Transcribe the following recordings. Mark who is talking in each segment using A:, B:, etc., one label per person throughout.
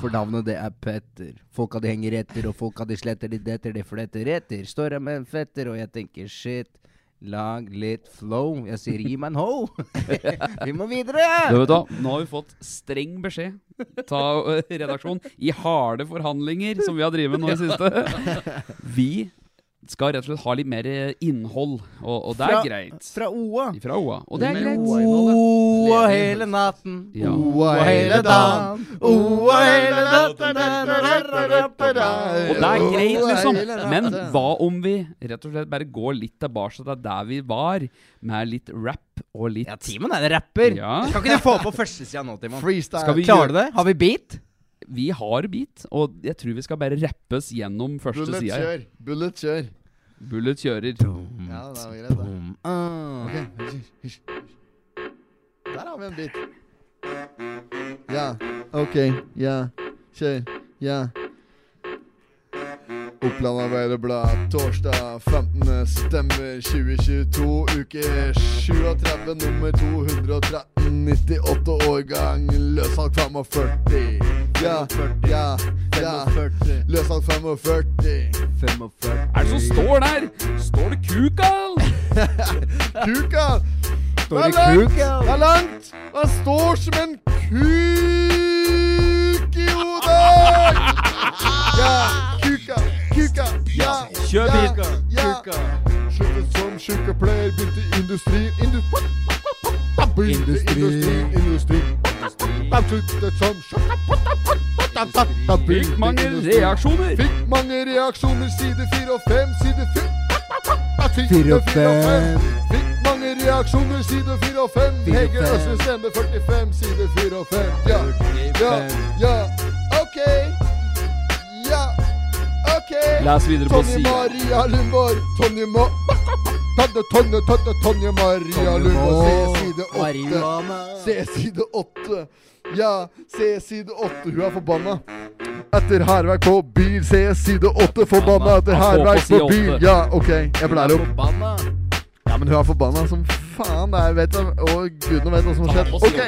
A: For navnet det er Petter. Folka de henger etter, og folka de sletter, de detter, de fletter etter. Står her med en fetter, og jeg tenker shit. Lag litt flow. Jeg sier gi meg en ho! Vi må
B: Du
A: videre!
B: vet da, Nå har vi fått streng beskjed Ta eh, redaksjonen i harde forhandlinger som vi har drevet med nå i siste. Vi skal rett og slett ha litt mer eh, innhold, og, og det er
A: Fra-
B: greit.
A: Fra OA.
B: Fra OA. Og det er
C: Mer
B: greit.
C: OA-innholdet.
A: Oa
C: Leve i
A: hele natten.
B: Ja.
A: Oa hele dagen. Oa hele natten.
B: Og det er greit,
A: Oa
B: liksom.
A: hele natten.
B: Men hva om vi rett og slett bare går litt tilbake til der vi var, med litt rap og litt
A: Ja, Timon er en rapper.
B: Ja.
A: Kan ikke du få på førstesida nå, Timon?
C: Freestyle.
B: Skal vi
A: Klarer du det? Har vi beat?
B: Vi har beat, og jeg tror vi skal bare rappes gjennom første Mm.
C: Bullet
B: sida.
C: kjør. Bullet kjør.
B: Bullet kjører.
C: Ja, det er greit, det.
A: Ah.
C: Ok, hysj, hysj, hysj. Der har vi en bit. Ja, ok, ja. Kjør, ja. Oppland Arbeiderblad, torsdag 15. stemmer 2022, uke 37, nummer 213, 98 årgang, løssalg 45. Ja, ja, ja.
A: 45.
C: Løssalg 45.
A: 45.
B: Er det som står der? Står det kuk, all?
C: Kuka!
A: Står i
C: det er langt!
A: kuk, ja.
C: Det er langt! Han står som en kuk i hodet! Ja, kuka, kuka, ja,
B: Kjør
C: ja,
B: bil.
C: ja. Sluttet som sykepleier, begynte i industrien. Indu begynte i industrien, industrien. Sluttet som sykepleier.
B: Fikk mange reaksjoner.
C: Fikk mange reaksjoner, side fire og fem, side fire
A: Fire og fem.
C: Fikk mange reaksjoner, side fire og fem.
A: Fire og
C: Hege
A: fem.
C: Østens stemme, 45, side fire og fem. Ja, ja, ja. Ok. Ja, ok.
B: Les videre på
C: Tonje
B: sida.
C: Maria Lundborg. Tonje Ma... Tante Tonje, tante Tonje Maria Lundborg. Se side åtte. Se side 8. Ja, se side 8. Hun er forbanna. Etter hærverk på bil, se side 8. Forbanna etter
B: Han står på
C: hærverk
B: side
C: på bil.
B: åtte.
C: Ja, OK, jeg blærer opp. Ja, men hun er forbanna som faen. Det er, vet, jeg- og gudene vet hva som har skjedd.
B: Han må si
C: Ok, her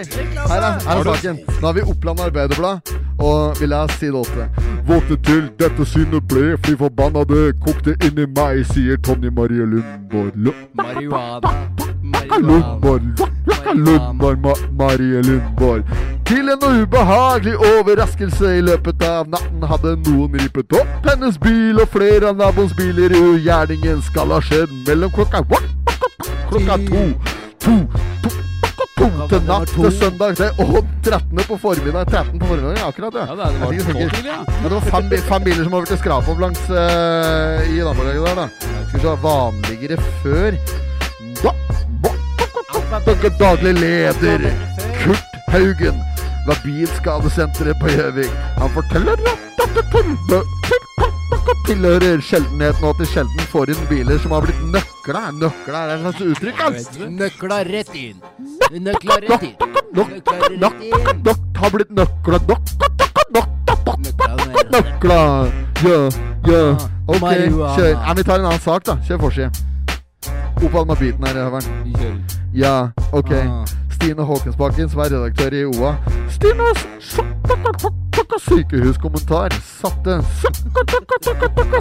C: er, her er saken. Nå har vi Oppland Arbeiderblad, og vi leser side 8. Våkne til, dette synet ble fly forbanna, det kokte inni meg, sier Tonje Marie Lundborg. Lu-
A: Marihuana. Marihuana.
C: Lundborg, Jakka Lundborg, Ma Marie Lundborg. Til en ubehagelig overraskelse i løpet av natten hadde noen rippet opp hennes bil, og flere av naboens biler i gjerningen skal ha skjedd mellom klokka klokka to, to, to, to til natt til søndag til og 13. på formiddag. 13 på formiddagen, akkurat,
B: Ja, det, er- det var
C: Jeg tenker-
B: tåpelig, ja.
C: ja, det var fem, bi- fem biler som har blitt skrapa opp langs eh, i nabolaget der, da. Skal vi se, vanligere før da, da, da, da, da, Daglig leder Kurt Haugen ved Bilskadesenteret på Gjøvik. Han forteller at dette tilbø- tilbø- tilhører sjeldenheten, og at det sjelden får inn biler som har blitt nøkla. Nøkla er et slags uttrykk, altså.
A: Nøkla rett inn. Nøkla rett inn. Nøkla rett inn.
C: Nok har blitt nøkla. Nok, nok, nok, nok,
A: Nøkla rett inn.
C: Nøkla! Ja, ja. Ok,
A: Marihuana.
C: kjør. Nei, vi tar en annen sak, da. Kjør forside. Opp av med biten her, høveren.
B: Vi kjører.
C: Ja, ok.
A: Ah.
C: Stine Håkensbakken, som er redaktør i OA. Stines sykehuskommentar satte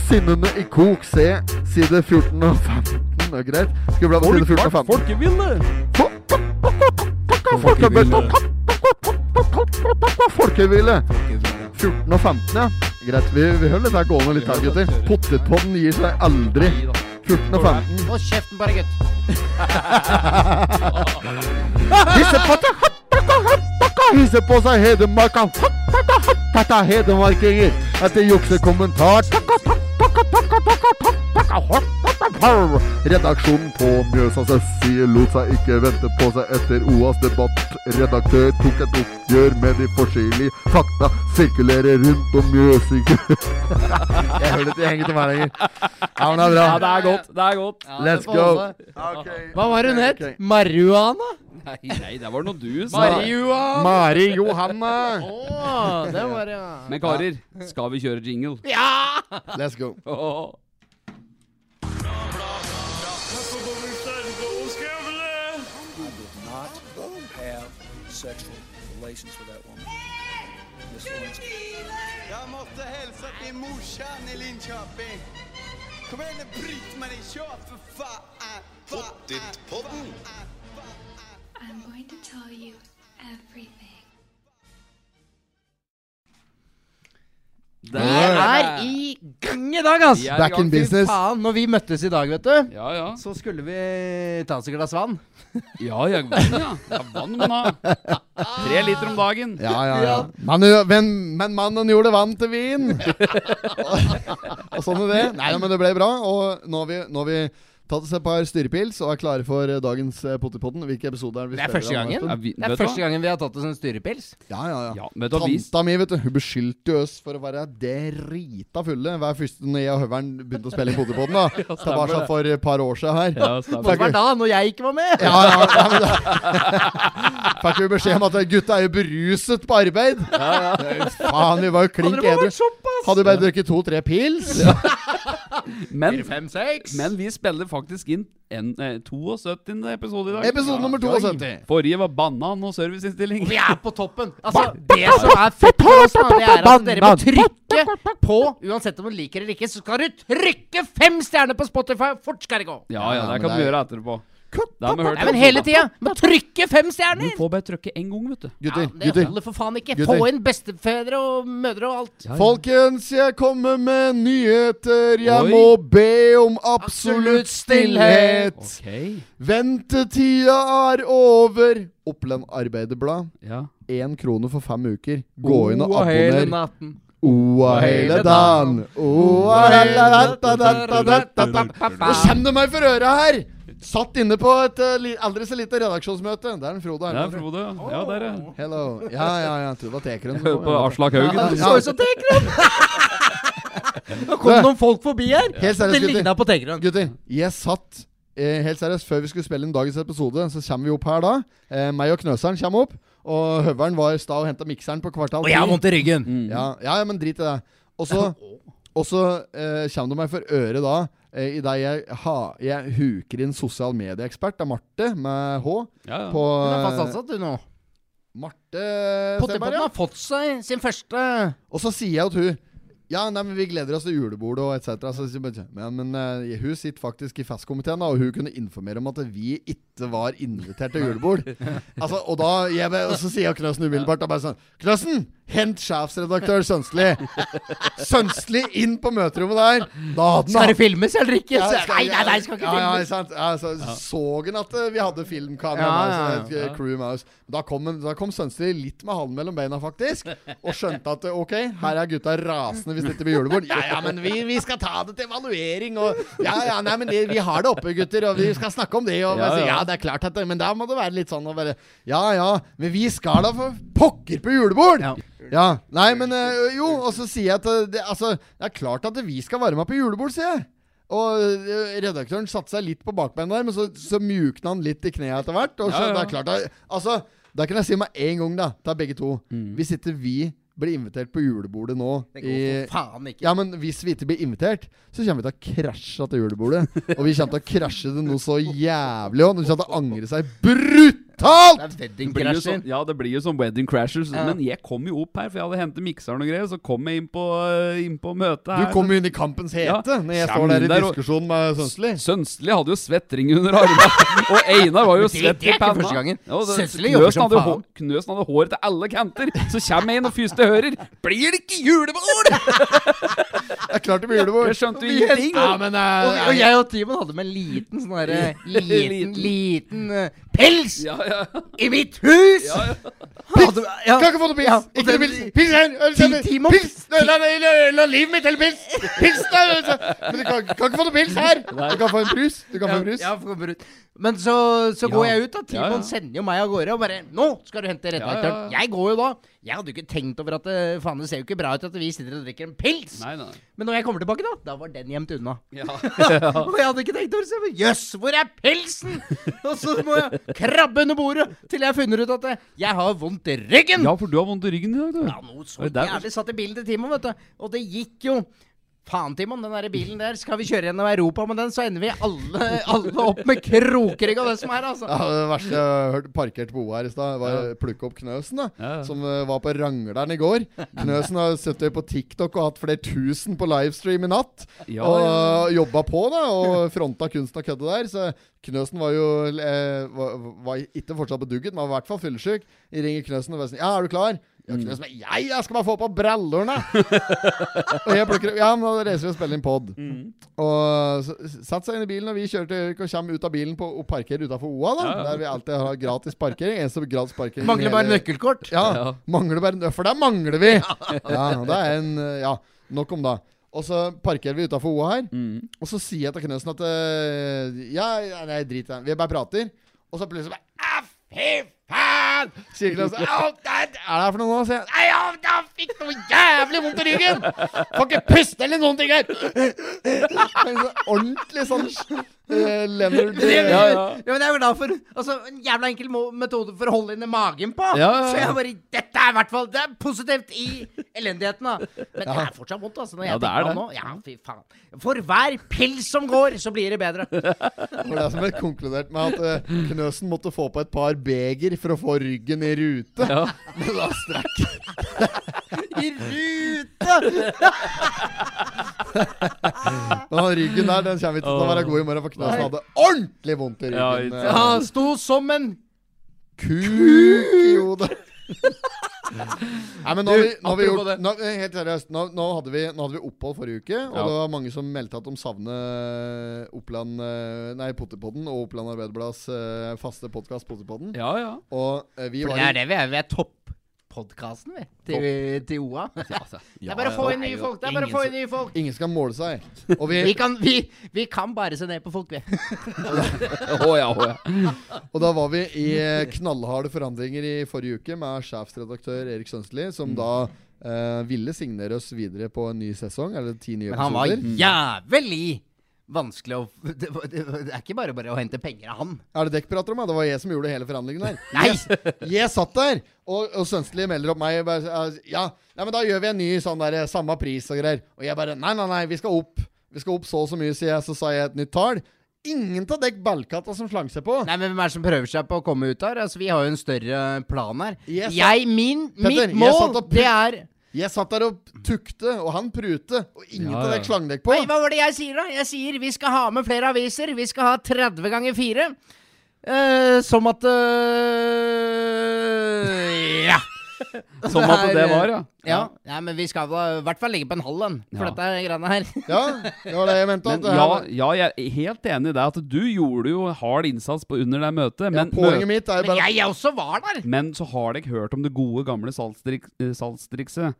C: sinnene i kok. Se side 14 og 15. Det er greit. Skal vi bla på side 14 og 15? Folkevilje. Folkevilje. 14 og 15, ja. Greit, vi, vi holder dette gående litt her, gutter. Potetpodden gir seg aldri. 14 og 15.
A: Hold kjeften bare, gutt.
C: Hissepotte! Hisse på seg Hedmarka! Dette er hedmarkinger! Dette jukser kommentar! Redaksjonen på Mjøsas side lot seg ikke vente på seg etter OAs debatt. Redaktør tok et oppgjør med de forskjellige fakta sirkulerer rundt om Mjøsik. Jeg hører det henger til meg lenger. Ja, men det er
B: Ja, det
C: bra.
B: er godt. Det er godt.
C: Let's go.
A: Hva var hun het? Marihuana?
B: Nei, nei, der var det noe du sa.
A: Marihuana.
C: Mari Johanna.
A: Å, det var ja.
B: Men karer, skal vi kjøre jingle?
C: Let's go.
B: Åh.
D: sexual relations with that woman. Miss Lewinsky.
E: Jeg måtte hilse til morsan i Linköping. Kom igjen, Britt-Marie, kjør, for faen! Pottit-podden!
F: I'm going to tell you everything.
B: Der
A: er i gang i dag, ass!
B: Vi er i
C: Back
B: gang,
C: in
B: fy
C: business.
A: Faen, når vi møttes i dag, vet du,
B: Ja, ja.
A: så skulle vi ta oss et glass vann.
B: Ja, jeg vann, ja. ja vann må man ha. Tre liter om dagen.
C: Ja, ja, ja. Men, ø, men, men mannen gjorde vann til vin! og sånn er det. Nei, men det ble bra. Og nå har vi, nå har vi tatt oss et par styrepils og er klare for ø, dagens eh, Potipodden. Hvilke episoder er det vi
A: Det er
C: spiller
A: første
C: av nå,
A: gangen
B: Ja,
C: Espen?
B: vi,
A: Det er
B: vet du hva?
A: første gangen vi har tatt oss en styrepils.
C: Ja, ja, ja.
B: Ja, vet du hva, vi,
C: Tanta mi vet du, hun beskyldte jo oss for å være drita fulle hver første når jeg og Høveren begynte å spille i Potipodden. da Tilbake
B: det.
C: for et par år siden her.
B: ja, stemmer.
A: Det var da, når jeg ikke var med.
C: Ja, ja, ja men da Fikk jo beskjed om at gutta er jo beruset på arbeid. Ja, ja. Faen, vi var jo klink edru. Hadde jo bare drukket to-tre pils.
B: men,
A: Fem, seks.
B: men vi spiller faktisk inn en, eh, 72. episode i dag.
C: Episode nummer 72.
B: Forrige var banan og serviceinnstilling.
A: Vi er på toppen! Altså, det som er fett med oss, da, det er at dere må trykke på Uansett om du liker eller ikke, så skal du trykke fem stjerner på Spotify! Fort skal det gå!
B: Ja, ja,
C: Ja,
B: det
C: men
B: kan
C: det
B: vi
C: er-
B: gjøre etterpå. Da har vi hørt
A: Nei, men hele tida! Må trykke fem stjerner!
B: Du får bare trykke én gang, vet du.
A: Ja,
C: Gutter,
A: det
C: gutter.
A: holder for faen ikke.
C: Gutter.
A: Få inn bestefedre og mødre og alt.
C: Folkens, jeg kommer med nyheter. Jeg
B: Oi.
C: må be om absolutt stillhet.
B: Ok.
C: Ventetida er over. Oppland Arbeiderblad.
B: Ja.
C: Én krone for fem uker. Gå inn og abonner.
A: natten.
C: Oa hele dagen. Oa hele da-da-da-da-da-da. Nå kommer det meg for øra her! Satt inne på et eh, li- aldri så lite redaksjonsmøte. Det er en Frode
B: Der,
C: Arnald.
B: Frode. Ja, der, ja.
C: Hello. Ja, ja, ja. Jeg trodde det var Tekeren.
B: Hør på Aslak Haugen.
A: Så ut som Tegren! Nå kom
C: Det-
A: noen folk forbi her.
C: Helt seriøst,
A: Det
C: gutter.
A: ligna på Tegren.
C: Gutter, jeg satt eh, Helt seriøst, før vi skulle spille inn dagens episode, så kommer vi opp her da. Eh, meg og Knøseren kommer opp. Og Høveren var i stad og henta mikseren på kvartal
A: Og jeg har vondt Mm. i ryggen.
C: Ja, ja, ja, men drit i det. Og så Og så eh, kommer det meg for øret da, eh, i det jeg, ha, jeg huker inn sosial medieekspert, det er Marte med H,
B: Ja, ja.
C: på eh,
A: Hun er fast ansatt, du nå.
C: Marte Seberg,
A: Pottepotten
C: ja.
A: har fått seg sin første
C: Og så sier jeg til hun ja, nei, men vi gleder oss til julebordet og etc. Men, men eh, hun sitter faktisk i festkomiteen, da, og hun kunne informere om at vi ikke var invitert til julebord. altså, og, da, jeg, bare- og så sier Knøsen umiddelbart da bare sånn Knøsen, hent sjefsredaktør Sønstli! Sønstli inn på møterommet der! Da hadde han
A: Skal det filmes eller ikke?
C: ja,
A: Så- Nei, nei, nei, skal ikke
C: ja, ja,
A: filmes.
C: ikke sant? Ja, så så han at eh, vi hadde filmkamera
A: Ja,
C: med oss,
A: ja,
C: et, eh, crew med oss. Da kom, en- da kom Sønstli litt med halen mellom beina, faktisk. Og skjønte at eh, OK, her er gutta rasende hvis det ikke blir julebord. Ja, ja, men vi, vi skal ta det til evaluering, og Ja, ja, nei, men det, vi har det oppe, gutter, og vi skal snakke om det. Og
B: Ja,
C: bare si,
B: ja.
C: ja, det er klart at det, Men da må det være litt sånn å bare Ja, ja, men vi skal da for pokker på julebord!
A: Ja.
C: Ja, Nei, men eh, jo, og så sier jeg at eh, det, altså, det er klart at vi skal være med på julebord, sier jeg. Og eh, redaktøren satte seg litt på bakbeina der, men så, så mjukna han litt i kneet etter hvert. Og så,
B: Ja, ja.
C: det er klart at, Altså, da kan jeg si med en gang, da, til begge to Hvis ikke vi blir invitert på julebordet nå
A: Mm. Det
C: i
A: går for faen ikke.
C: ja, men hvis vi ikke blir invitert, så kommer vi til å krasje til julebordet. Og vi kommer til å krasje det noe så jævlig òg. De kommer til å angre seg brutalt!
A: Det er
B: Det blir jo sånn,
A: weddingkrasjer.
B: ja, det blir jo som Wedding Crashers.
A: Ja.
B: Men jeg kom jo opp her, for jeg hadde hentet mikseren og greier. Så kom jeg inn på, eh, inn på møtet
C: Du
B: her.
C: kommer jo inn i kampens hete
B: Ja,
C: når jeg
B: kjem
C: står der i
B: der og-
C: diskusjonen med Sønsli.
B: Sønstli hadde jo svettring under armene, og Einar var jo
A: Men det-
B: svett
A: det er
B: i
A: ikke
B: panna.
A: første gangen.
B: Ja, og det-
A: Sønstli jobber
B: Knøsen
A: som
B: hadde jo
A: faen.
B: hår- Knøsen hadde hår til alle kanter. Så kommer jeg inn og fyste hører. Blir det ikke julebord?!
C: Det er klart det blir julebord.
B: Jeg skjønte jo ingenting.
C: Ja, men eh,
A: Og, og jeg og Timon hadde med en liten sånn herre Liten, liten eh, pils
B: Ja, ja.
A: i mitt hus!
B: Ja, ja.
A: Hadde, ja.
C: Kan ikke få noe pils!
A: Ja, og
C: ikke noe
A: den-
C: pils! Pils her! øl,
A: Ti-
C: øl,
A: Timon-
C: Pils! La, la, la, la, la livet mitt til pils! Pils! da, altså. Men du kan, kan ikke få noe pils her! Du kan få en brus. Du kan få
A: Ja,
C: en brus.
A: ja, for å komme ut. Men så, så går
B: Ja.
A: jeg ut, da. Timon
B: Ja, ja.
A: sender jo meg av gårde og bare 'Nå skal du hente redaktøren'.
B: Ja, ja, ja.
A: Jeg går jo da. Jeg hadde jo ikke tenkt over at eh, faen, det ser jo ikke bra ut at vi sitter og drikker en pils.
B: Nei, nei.
A: Men når jeg kommer tilbake, da, da var den gjemt unna.
B: Ja.
A: Og jeg hadde ikke tenkt over det. så jeg bare, Jøss, hvor er pilsen?! og så må jeg krabbe under bordet til jeg har funnet ut at eh, jeg har vondt i ryggen!
B: ja, for du har vondt i ryggen i dag, du.
A: Ja, noe så
B: Og der-
A: jævlig satt i bilen til Timon, vet du. Og det gikk jo Faen, Timon, den der bilen der. Skal vi kjøre gjennom Europa med den, så ender vi alle, alle opp med krokrygg og det som er, altså.
C: Ja, det verste jeg hørte parkert på O her i stad, var plukke opp Knøsen, da.
B: Ja, ja.
C: Som eh, var på Rangleren i går. Knøsen har sett det på TikTok og hatt flere tusen på livestream i natt.
B: Ja,
C: og
B: ja.
C: jobba på, da, og fronta kunsten og køddet der. Så Knøsen var jo eh, var, var ikke fortsatt bedugget, men var i hvert fall fyllesyk. Jeg ringer Knøsen og bare sier Ja, er du klar? Ja,
B: Mm.
C: Knøsen bare Ja, jeg skal bare få på brillene! og jeg plukker opp Ja, men da reiser vi og spiller inn pod.
B: Mm.
C: Og så satt seg inn i bilen, og vi kjører til Gjøvik og kommer ut av bilen på, og parkerer utafor OA. da
B: Ja, ja.
C: Der vi alltid har gratis parkering. Eneste gratis parkering i
A: Mangler bare
C: hele-
A: nøkkelkort.
C: Ja,
B: Ja.
C: mangler bare nø- For der mangler vi! Ja, det er en Ja, nok om det. Og så parkerer vi utafor OA her,
B: Mm.
C: og så sier jeg til Knøsen at eh, Ja, ja, nei, drit i det. Vi bare prater. Og så plutselig bare «Ah, Fy faen! Sier Knøsen. «Au, det- Er det her for noe nå? Sier jeg. Nei, ja, jeg fikk noe jævlig vondt i ryggen! Får ikke puste eller noen ting her! Ordentlig sånn eh, Leonard
A: Det,
B: Ja, ja.
A: Ja, men jeg er glad for altså, En jævla enkel mo- metode for å holde inne magen på.
B: Ja, ja, ja.
A: Så jeg bare Dette er i hvert fall Det er positivt i elendigheten, da. Men det er fortsatt vondt, altså. Når jeg
B: Ja, det er
A: tenker meg om nå. Ja, fy faen. For hver pils som går, så blir det bedre.
C: Det var det som ble konkludert med at eh, Knøsen måtte få på et par beger for å få ryggen i rute.
B: Ja.
C: Men da strekk
A: I rute!
C: Men han ryggen der den kommer ikke til å være god i morgen, for Knøsen hadde ordentlig vondt
B: Ja,
C: i ryggen.
B: ikke
C: eh,
A: Ja, han sto som en
C: Kuk i hodet. Nei, men nå har vi, nå har vi
B: apropos
C: gjort nå, eh, Helt seriøst, nå, nå, hadde vi, nå hadde vi opphold forrige uke, og
B: Ja.
C: det var mange som meldte at de savner Oppland eh, Nei, Potipodden og Oppland Arbeiderblads eh, faste podkast Potipodden.
B: ja, ja.
C: Og eh, vi
A: For det
C: var i-
A: er det vi er. Vi er toppodkasten, vi. Til, til OA.
B: altså,
A: Det er bare å få inn nye folk. Det er bare å få inn nye folk.
C: Ingen skal måle seg. Og vi,
A: Vi kan, vi, vi kan bare se ned på folk, vi.
B: Å ja, å ja.
C: Og da var vi i eh, knallharde forhandlinger i forrige uke med sjefsredaktør Erik Sønsteli,
A: Mm.
C: som da eh, ville signere oss videre på en ny sesong, eller ti nye
A: Men han var
C: episoder.
A: jævlig vanskelig å det, var- det, var- det er ikke bare bare å hente penger av han.
C: Er det dekk prater om? Ja? Det var jeg som gjorde hele forhandlingen der.
A: Nei!
C: Jeg, jeg satt der, og, og Sønsteli melder opp meg. og Bare, eh, ja, nei, men da gjør vi en ny sånn der, eh, samme pris og greier. Og jeg bare Nei, nei, nei, vi skal opp. Vi skal opp så og så mye, sier jeg. Så sa jeg et nytt tall. Ingen av dekk ballkatta som slang seg på.
A: Nei, men Hvem er det som prøver seg på å komme ut her? Altså, Vi har jo en større plan her.
C: Jeg satt-
A: Jeg, min,
C: Petter,
A: Mitt
C: jeg
A: mål,
C: satt og pul-
A: det er
C: Jeg satt der og tukte, og han prute, og ingen
B: Ja,
C: av
B: ja.
C: dekk slang dekk på.
A: Nei, hva var det jeg sier, da? Jeg sier vi skal ha med flere aviser. Vi skal ha 30 ganger 4. Eh, som at eh, Ja.
B: Som at det var, ja.
A: Ja, Nei, men vi skal da i hvert fall ligge på en halv en for
B: Ja.
A: dette greiene her.
C: Ja, det var det jeg
A: sånn
C: mente. at
B: Men
C: det her
B: ja,
C: var-
B: ja, jeg er helt enig i det. At du gjorde jo hard innsats på under det møtet. Men,
C: Poenget mitt er jo
A: Men
C: bare
A: jeg, jeg også var der.
B: men så har dere hørt om det gode, gamle saltstrik- eh, saltstrikset.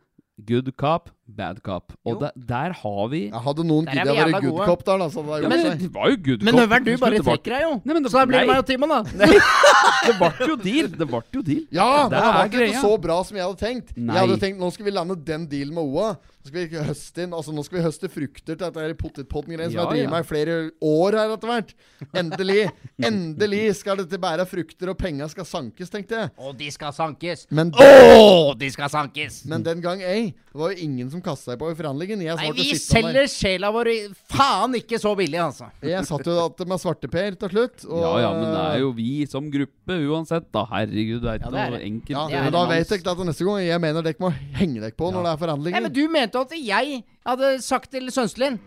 B: Good cop, bad cop. Og der, der har vi
C: ja, Hadde noen
A: Der er
C: giddet å
A: vi
C: være
A: jævla
C: good
A: gode.
C: cop der, da, så hadde
B: ja,
C: altså, det
B: men,
C: gjort
B: det-
C: seg.
B: Det var jo good
A: Men
B: cop.
A: Høvern, du
B: til
A: bare
B: slutt. Det var-
A: trekker deg jo.
B: Nei, men det-
A: så da blir det
B: nei.
A: meg og Timon, da.
B: Det ble jo deal. Det ble jo deal.
C: Ja, men det
B: er
C: var ikke
B: greia.
C: så bra som jeg hadde tenkt.
B: Nei.
C: Jeg hadde tenkt, Nå skal vi lande den dealen med OA. Nå skal vi høste inn Altså, nå skal vi høste frukter til dette her potetpotten-greiene som
B: Ja,
C: jeg driver
B: ja.
C: med i flere år her etter hvert. Endelig. Endelig skal dette bære frukter, og penga skal sankes, tenkte jeg.
A: Og de skal sankes.
C: Men,
A: Å, de skal sankes!
C: men den gang ei. Det var jo ingen som kasta seg på i forhandlingen. Jeg
A: Nei,
C: svarte
A: vi
C: sittende der.
A: selger sjela vår i- faen ikke så billig, altså.
C: Jeg satt jo da med svarteper til slutt. og-
B: Ja, ja, men det er jo vi som gruppe uansett, da. Herregud, det
A: Ja,
B: er ikke
A: det er
B: noe
A: det.
B: enkelt.
C: Ja,
A: Det er
C: men da
B: manns-
C: vet dere at neste gang jeg mener dere må henge dere på når det er
A: Nei,
C: forhandlinger.
A: men du mente at jeg hadde sagt til Sønselin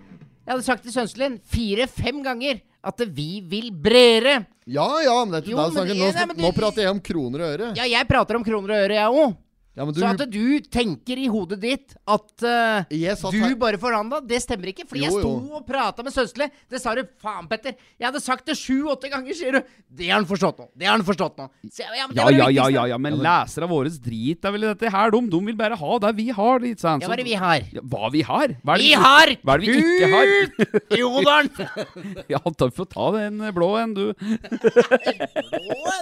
A: Jeg hadde sagt til Sønselin fire-fem ganger at vi vil bredere.
C: Ja, ja, men det er
A: Jo,
C: ikke det jeg
A: men
C: snakker.
A: det-
C: Nå,
A: nei,
C: skal,
A: men det-
C: nå prater jeg om kroner og øre. Ja,
A: Ja, jeg prater om kroner og øre, jeg òg.
C: men du,
A: Så at du tenker i hodet ditt at eh,
C: jeg satt
A: du
C: her
A: bare forhandla, det stemmer ikke. Fordi jeg
C: Jo,
A: sto
C: jo.
A: og prata med Sønsli. Det sa du faen, Petter. Jeg hadde sagt det sju-åtte ganger, sier du. Det har han forstått nå. Det har han forstått nå. Så, ja, men det
B: Ja,
A: var det liksom-
B: ja, ja,
A: viktigste.
B: ja, ja, men lesere våre drit er vel i dette her, de. De vil bare ha det vi har. Litt, sånn.
A: Ja, hva er det vi har?
B: Ja, hva vi har? Hva er det
A: Vi har
B: Hva er det vi ikke har?
A: kuk i odalen!
B: Ja, takk for å ta den eh, blå en, du.
C: Ja,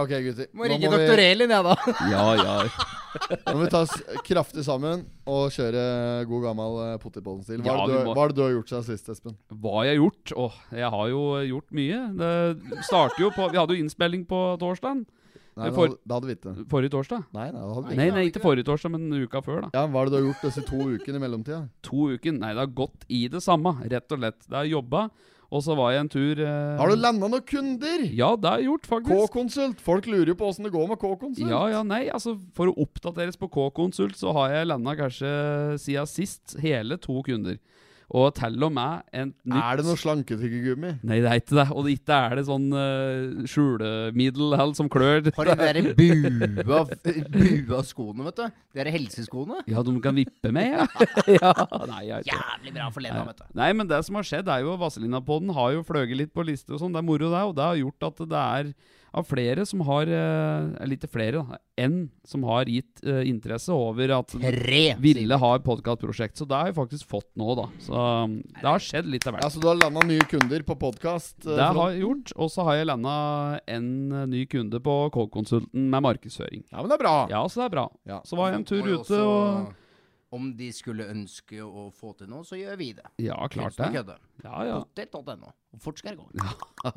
C: Ok, gutter.
A: Må
C: Nå
A: ringe
C: må
A: doktor
C: vi,
A: Elin, jeg, da.
B: Ja, ja.
C: nå må vi ta oss kraftig sammen og kjøre god gammel eh, potetbollen-stil. Hva,
B: Ja,
C: er det
B: vi
C: du-
B: må-
C: hva er det du har gjort siden sist, Espen?
B: Hva har jeg eh, gjort? Åh, jeg har jo gjort mye. Det starter jo på Vi hadde jo innspilling på torsdagen.
C: Nei,
B: For-
C: da, da hadde vi ikke det.
B: Forrige torsdag?
C: Nei, nei, da hadde vi ikke.
B: Nei, nei, ikke forrige torsdag, men uka før, da.
C: Ja, Hva er det du har gjort disse to ukene i mellomtida?
B: To uker. Nei, det har gått i det samme, rett og slett. Det har jobba, og så var jeg en tur eh,
C: Har du landa noen kunder?
B: Ja, det har jeg gjort, faktisk.
C: K-konsult! Folk lurer jo på åssen det går med K-konsult.
B: Ja, ja, nei, altså For å oppdateres på K-konsult, så har jeg landa kanskje siden sist hele to kunder. Og til og med en nytt
C: Er det noe slanketyggegummi?
B: Nei, det er ikke det. Og det- ikke er det sånn eh, skjulemiddel eller som klør.
A: Har de der bua, bua skoene, vet du? De der helseskoene?
B: Ja, de kan vippe med, ja. ja. Nei, jeg vet ikke.
A: Jævlig bra for Lena, vet du.
B: Nei, men det som har skjedd, er jo at Vazelina-podden har jo fløyet litt på liste og sånn. Det er moro, det. Og det har gjort at det er av flere som har eh, Litt flere, da. Enn som har gitt eh, interesse over at
A: Tre!
B: ville ha et podkastprosjekt. Så det har jeg faktisk fått nå, da. Så um, det har skjedd litt av
C: Ja,
B: hvert.
C: Så Altså, du har landa nye kunder på eh, podkast?
B: Det har jeg gjort. Og så har jeg landa en eh, ny kunde på K-konsulten med markedsføring.
C: Ja, men det er bra.
B: Ja, så det er bra.
C: Ja.
B: Så var jeg en tur
A: Og jo
B: ute og
A: også, Om de skulle ønske å få til noe, så gjør vi det.
B: Ja, klart det. Ja, ja.
A: Potet.no. Fort skal det gå.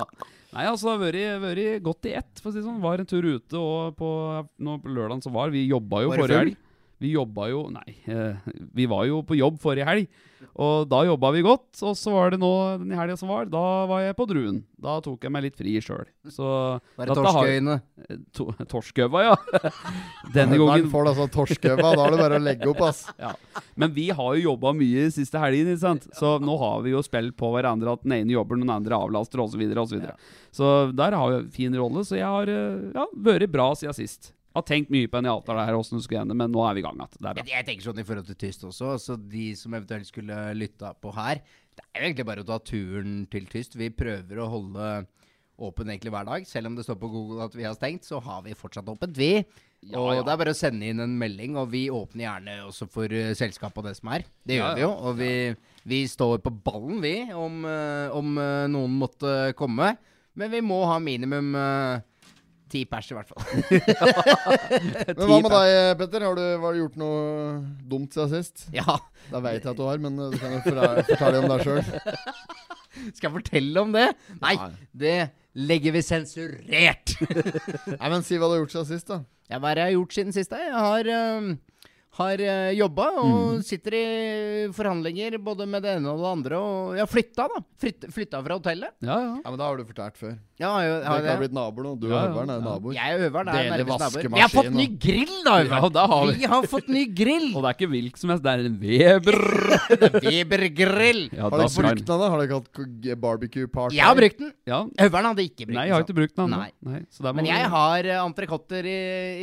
B: Nei, altså, det har vært- vært godt i ett, for å si det sånn. Var en tur ute, og på, nå på lørdagen så var Vi jobba jo
A: Var det
B: forrige
A: full?
B: helg. Vi jobba jo Nei, eh, vi var jo på jobb forrige helg, og da jobba vi godt. Og så var det nå, den helga som var, da var jeg på Druen. Da tok jeg meg litt fri sjøl. Så
A: Bare
B: dette har-
A: torskeøyne.
B: to, Torskøva, ja. Denne
C: Når
B: gangen
C: den får altså torskeøva, da er det bare å legge opp, ass.
B: ja. Men vi har jo jobba mye siste helgen, ikke sant? så nå har vi jo spilt på hverandre at den ene jobber, den andre avlaster osv. Så, videre, og så, videre. så der har vi en fin rolle, så jeg har eh, ja, vært bra siden sist. Har tenkt mye på en i avtalen her, hvordan det skulle ende, men nå er vi i gang igjen. Det er
A: Men
B: bra.
A: jeg tenker sånn i forhold til Tyst også, altså de som eventuelt skulle lytta på her, det er jo egentlig bare å ta turen til Tyst. Vi prøver å holde åpen egentlig hver dag. Selv om det står på Google at vi har stengt, så har vi fortsatt åpent, vi.
B: Ja,
A: og
B: ja.
A: det er bare å sende inn en melding, og vi åpner gjerne også for eh, selskap og det som er. Det gjør
B: Ja, ja.
A: vi jo, og vi, vi står på ballen, vi, om, eh, om eh, noen måtte komme. Men vi må ha minimum eh, ti pers, i hvert fall.
C: Men hva med deg, Petter? Har du, har du gjort noe dumt siden sist?
A: ja,
C: Det vet jeg at du har, men eh, du kan jo fortæ- fortelle om deg sjøl.
A: Skal jeg fortelle om det? Nei,
C: Nei.
A: det legger vi sensurert.
C: Nei, men si hva du har gjort siden sist, da.
A: ja, hva er det jeg har gjort siden sist? da? Jeg har, øhm, har øh, jobba og sitter i forhandlinger både med det ene og det andre. Og jeg har flytta, da. Flyt, flytta fra hotellet.
B: Ja, ja.
C: Ja, men Da har du fortalt før.
A: Ja, jeg,
C: Dere
A: har
C: har
A: det.
C: blitt naboer nå. Du og
B: Ja, ja,
C: Øveren er
B: ja.
C: naboer.
A: jeg og øveren er
C: Deler
A: nærmest naboer.
C: vaskemaskin
A: Vi har fått ny
C: og-
A: grill, da!
B: Ja,
A: Øveren.
B: det har vi.
A: Vi har fått ny grill!
B: Og det er ikke hvilken som helst, det er en Weber.
A: Weber-grill.
B: Ja,
C: Har
B: da
C: dere
B: skal
C: brukt
B: den.
C: den, da? Har dere ikke hatt k- barbecue party?
A: Jeg har brukt den.
B: Ja.
A: Øveren hadde ikke brukt
B: Nei,
A: den.
B: jeg har ikke brukt den ennå.
A: Nei.
B: Nei, så der må
A: Men
B: vi-
A: jeg har øh, entrecôter i,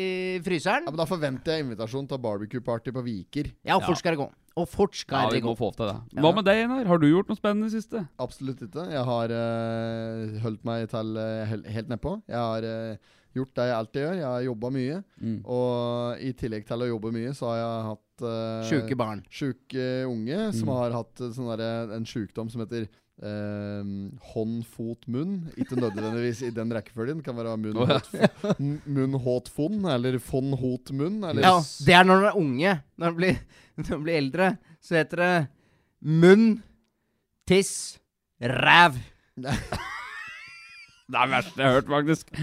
A: i fryseren.
C: Ja, men Da forventer jeg invitasjon til barbecue party på Viker.
A: Ja, og fort skal det gå. Og fort
B: ja,
A: skal
B: vi
A: det gå.
B: må få opp til det. Hva med deg, Einar? Har du gjort noe spennende i det siste?
C: Absolutt ikke. Jeg har eh, holdt meg til eh, hel- helt nedpå. Jeg har eh, gjort det jeg alltid gjør. Jeg har jobba mye.
B: Mm.
C: Og i tillegg til å jobbe mye, så har jeg hatt uh,
A: Sjuke barn.
C: sjuke unge som
B: Mm.
C: har hatt eh, sånn derre- en sjukdom som heter eh, hånd, fot, munn. Ikke nødvendigvis i den rekkefølgen. Det Kan være munn,
B: Å, ja.
C: hot, m- munn, hot, fon, eller von, hot, munn. Eller
A: Ja, det er når du er unge. Når du blir, når du blir eldre, så heter det munn, tiss, ræv.
B: Det er det verste jeg har hørt, faktisk.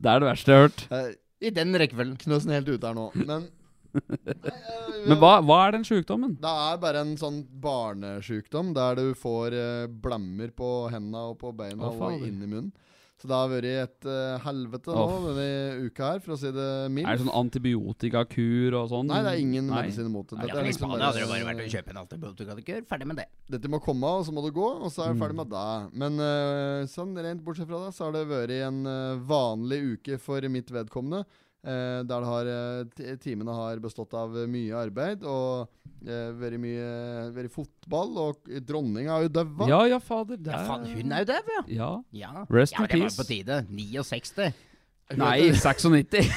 B: Det er det verste jeg har hørt.
C: Eh,
A: I den rekkefølgen.
C: Knøsen helt ute her nå. Men
B: Men hva, hva er den sjukdommen?
C: Det er bare en sånn barnesjukdom der du får eh, blemmer på hendene og på beina
B: Å, fader.
C: og inn i munnen. Så det har vært et eh, helvete nå
B: Å.
C: denne uka her, for å si det
B: Er det
C: mildt.
B: sånn antibiotikakur og sånn?
C: Nei, det er ingen
B: Nei.
C: medisin mot det.
B: Nei, ja,
C: Dette er
B: men i
C: liksom
B: Spania
C: bare-
B: hadde det
A: kjøpe en antibiotikakur. Ferdig med det.
C: Dette må komme, og så må du gå, og så er vi ferdig
B: Mm.
C: med det. Men eh, sånn, rent bortsett fra det, så har det vært en eh, vanlig uke for mitt vedkommende. eh, der det har, eh, ti- timene har bestått av eh, mye arbeid og eh, vært mye vært fotball. Og dronninga har jo daua.
B: Ja, ja, fader. Det
A: Ja,
B: er...
A: faen, hun er jo dau, ja.
B: Ja.
A: ja.
B: Rest
A: ja,
B: in
A: men det var
B: peace.
A: på tide. 69.
B: Nei, 96.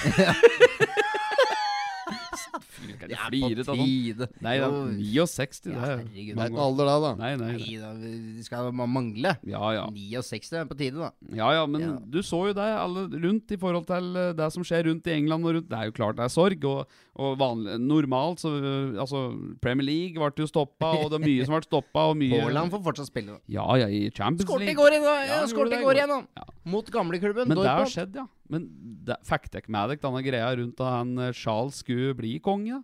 A: Det er
B: flirer
A: på
B: av
A: tide.
B: altså. Nei, det er 69.
A: Ja, herregud.
B: Det er
C: Det er
B: mange
C: ikke
B: år.
C: alder, det, da.
B: Nei, nei.
A: Nei, da, vi skal man mangle.
B: Ja, ja.
A: 69 er på tide, da.
B: Ja, ja, men
A: Ja.
B: du så jo det alle rundt i forhold til eh, det som skjer rundt i England og rundt. Det er jo klart det er sorg, og, og vanlig, normalt så eh, Altså, Premier League ble jo stoppa, og det er mye som ble stoppa, og mye
A: Haaland får fortsatt spille. da.
B: Ja, ja, i Champions
A: Skåret i
B: League.
A: går igjen, da!
B: Ja,
A: Ja,
B: han gjorde
A: skåret i
B: det i
A: går
B: går.
A: igjen, da.
B: Ja.
A: Mot gamleklubben
B: Men det har
A: Dortmund.
B: skjedd, ja. Men det- fikk dere med dere denne greia rundt at han eh, Charles skulle bli konge? da?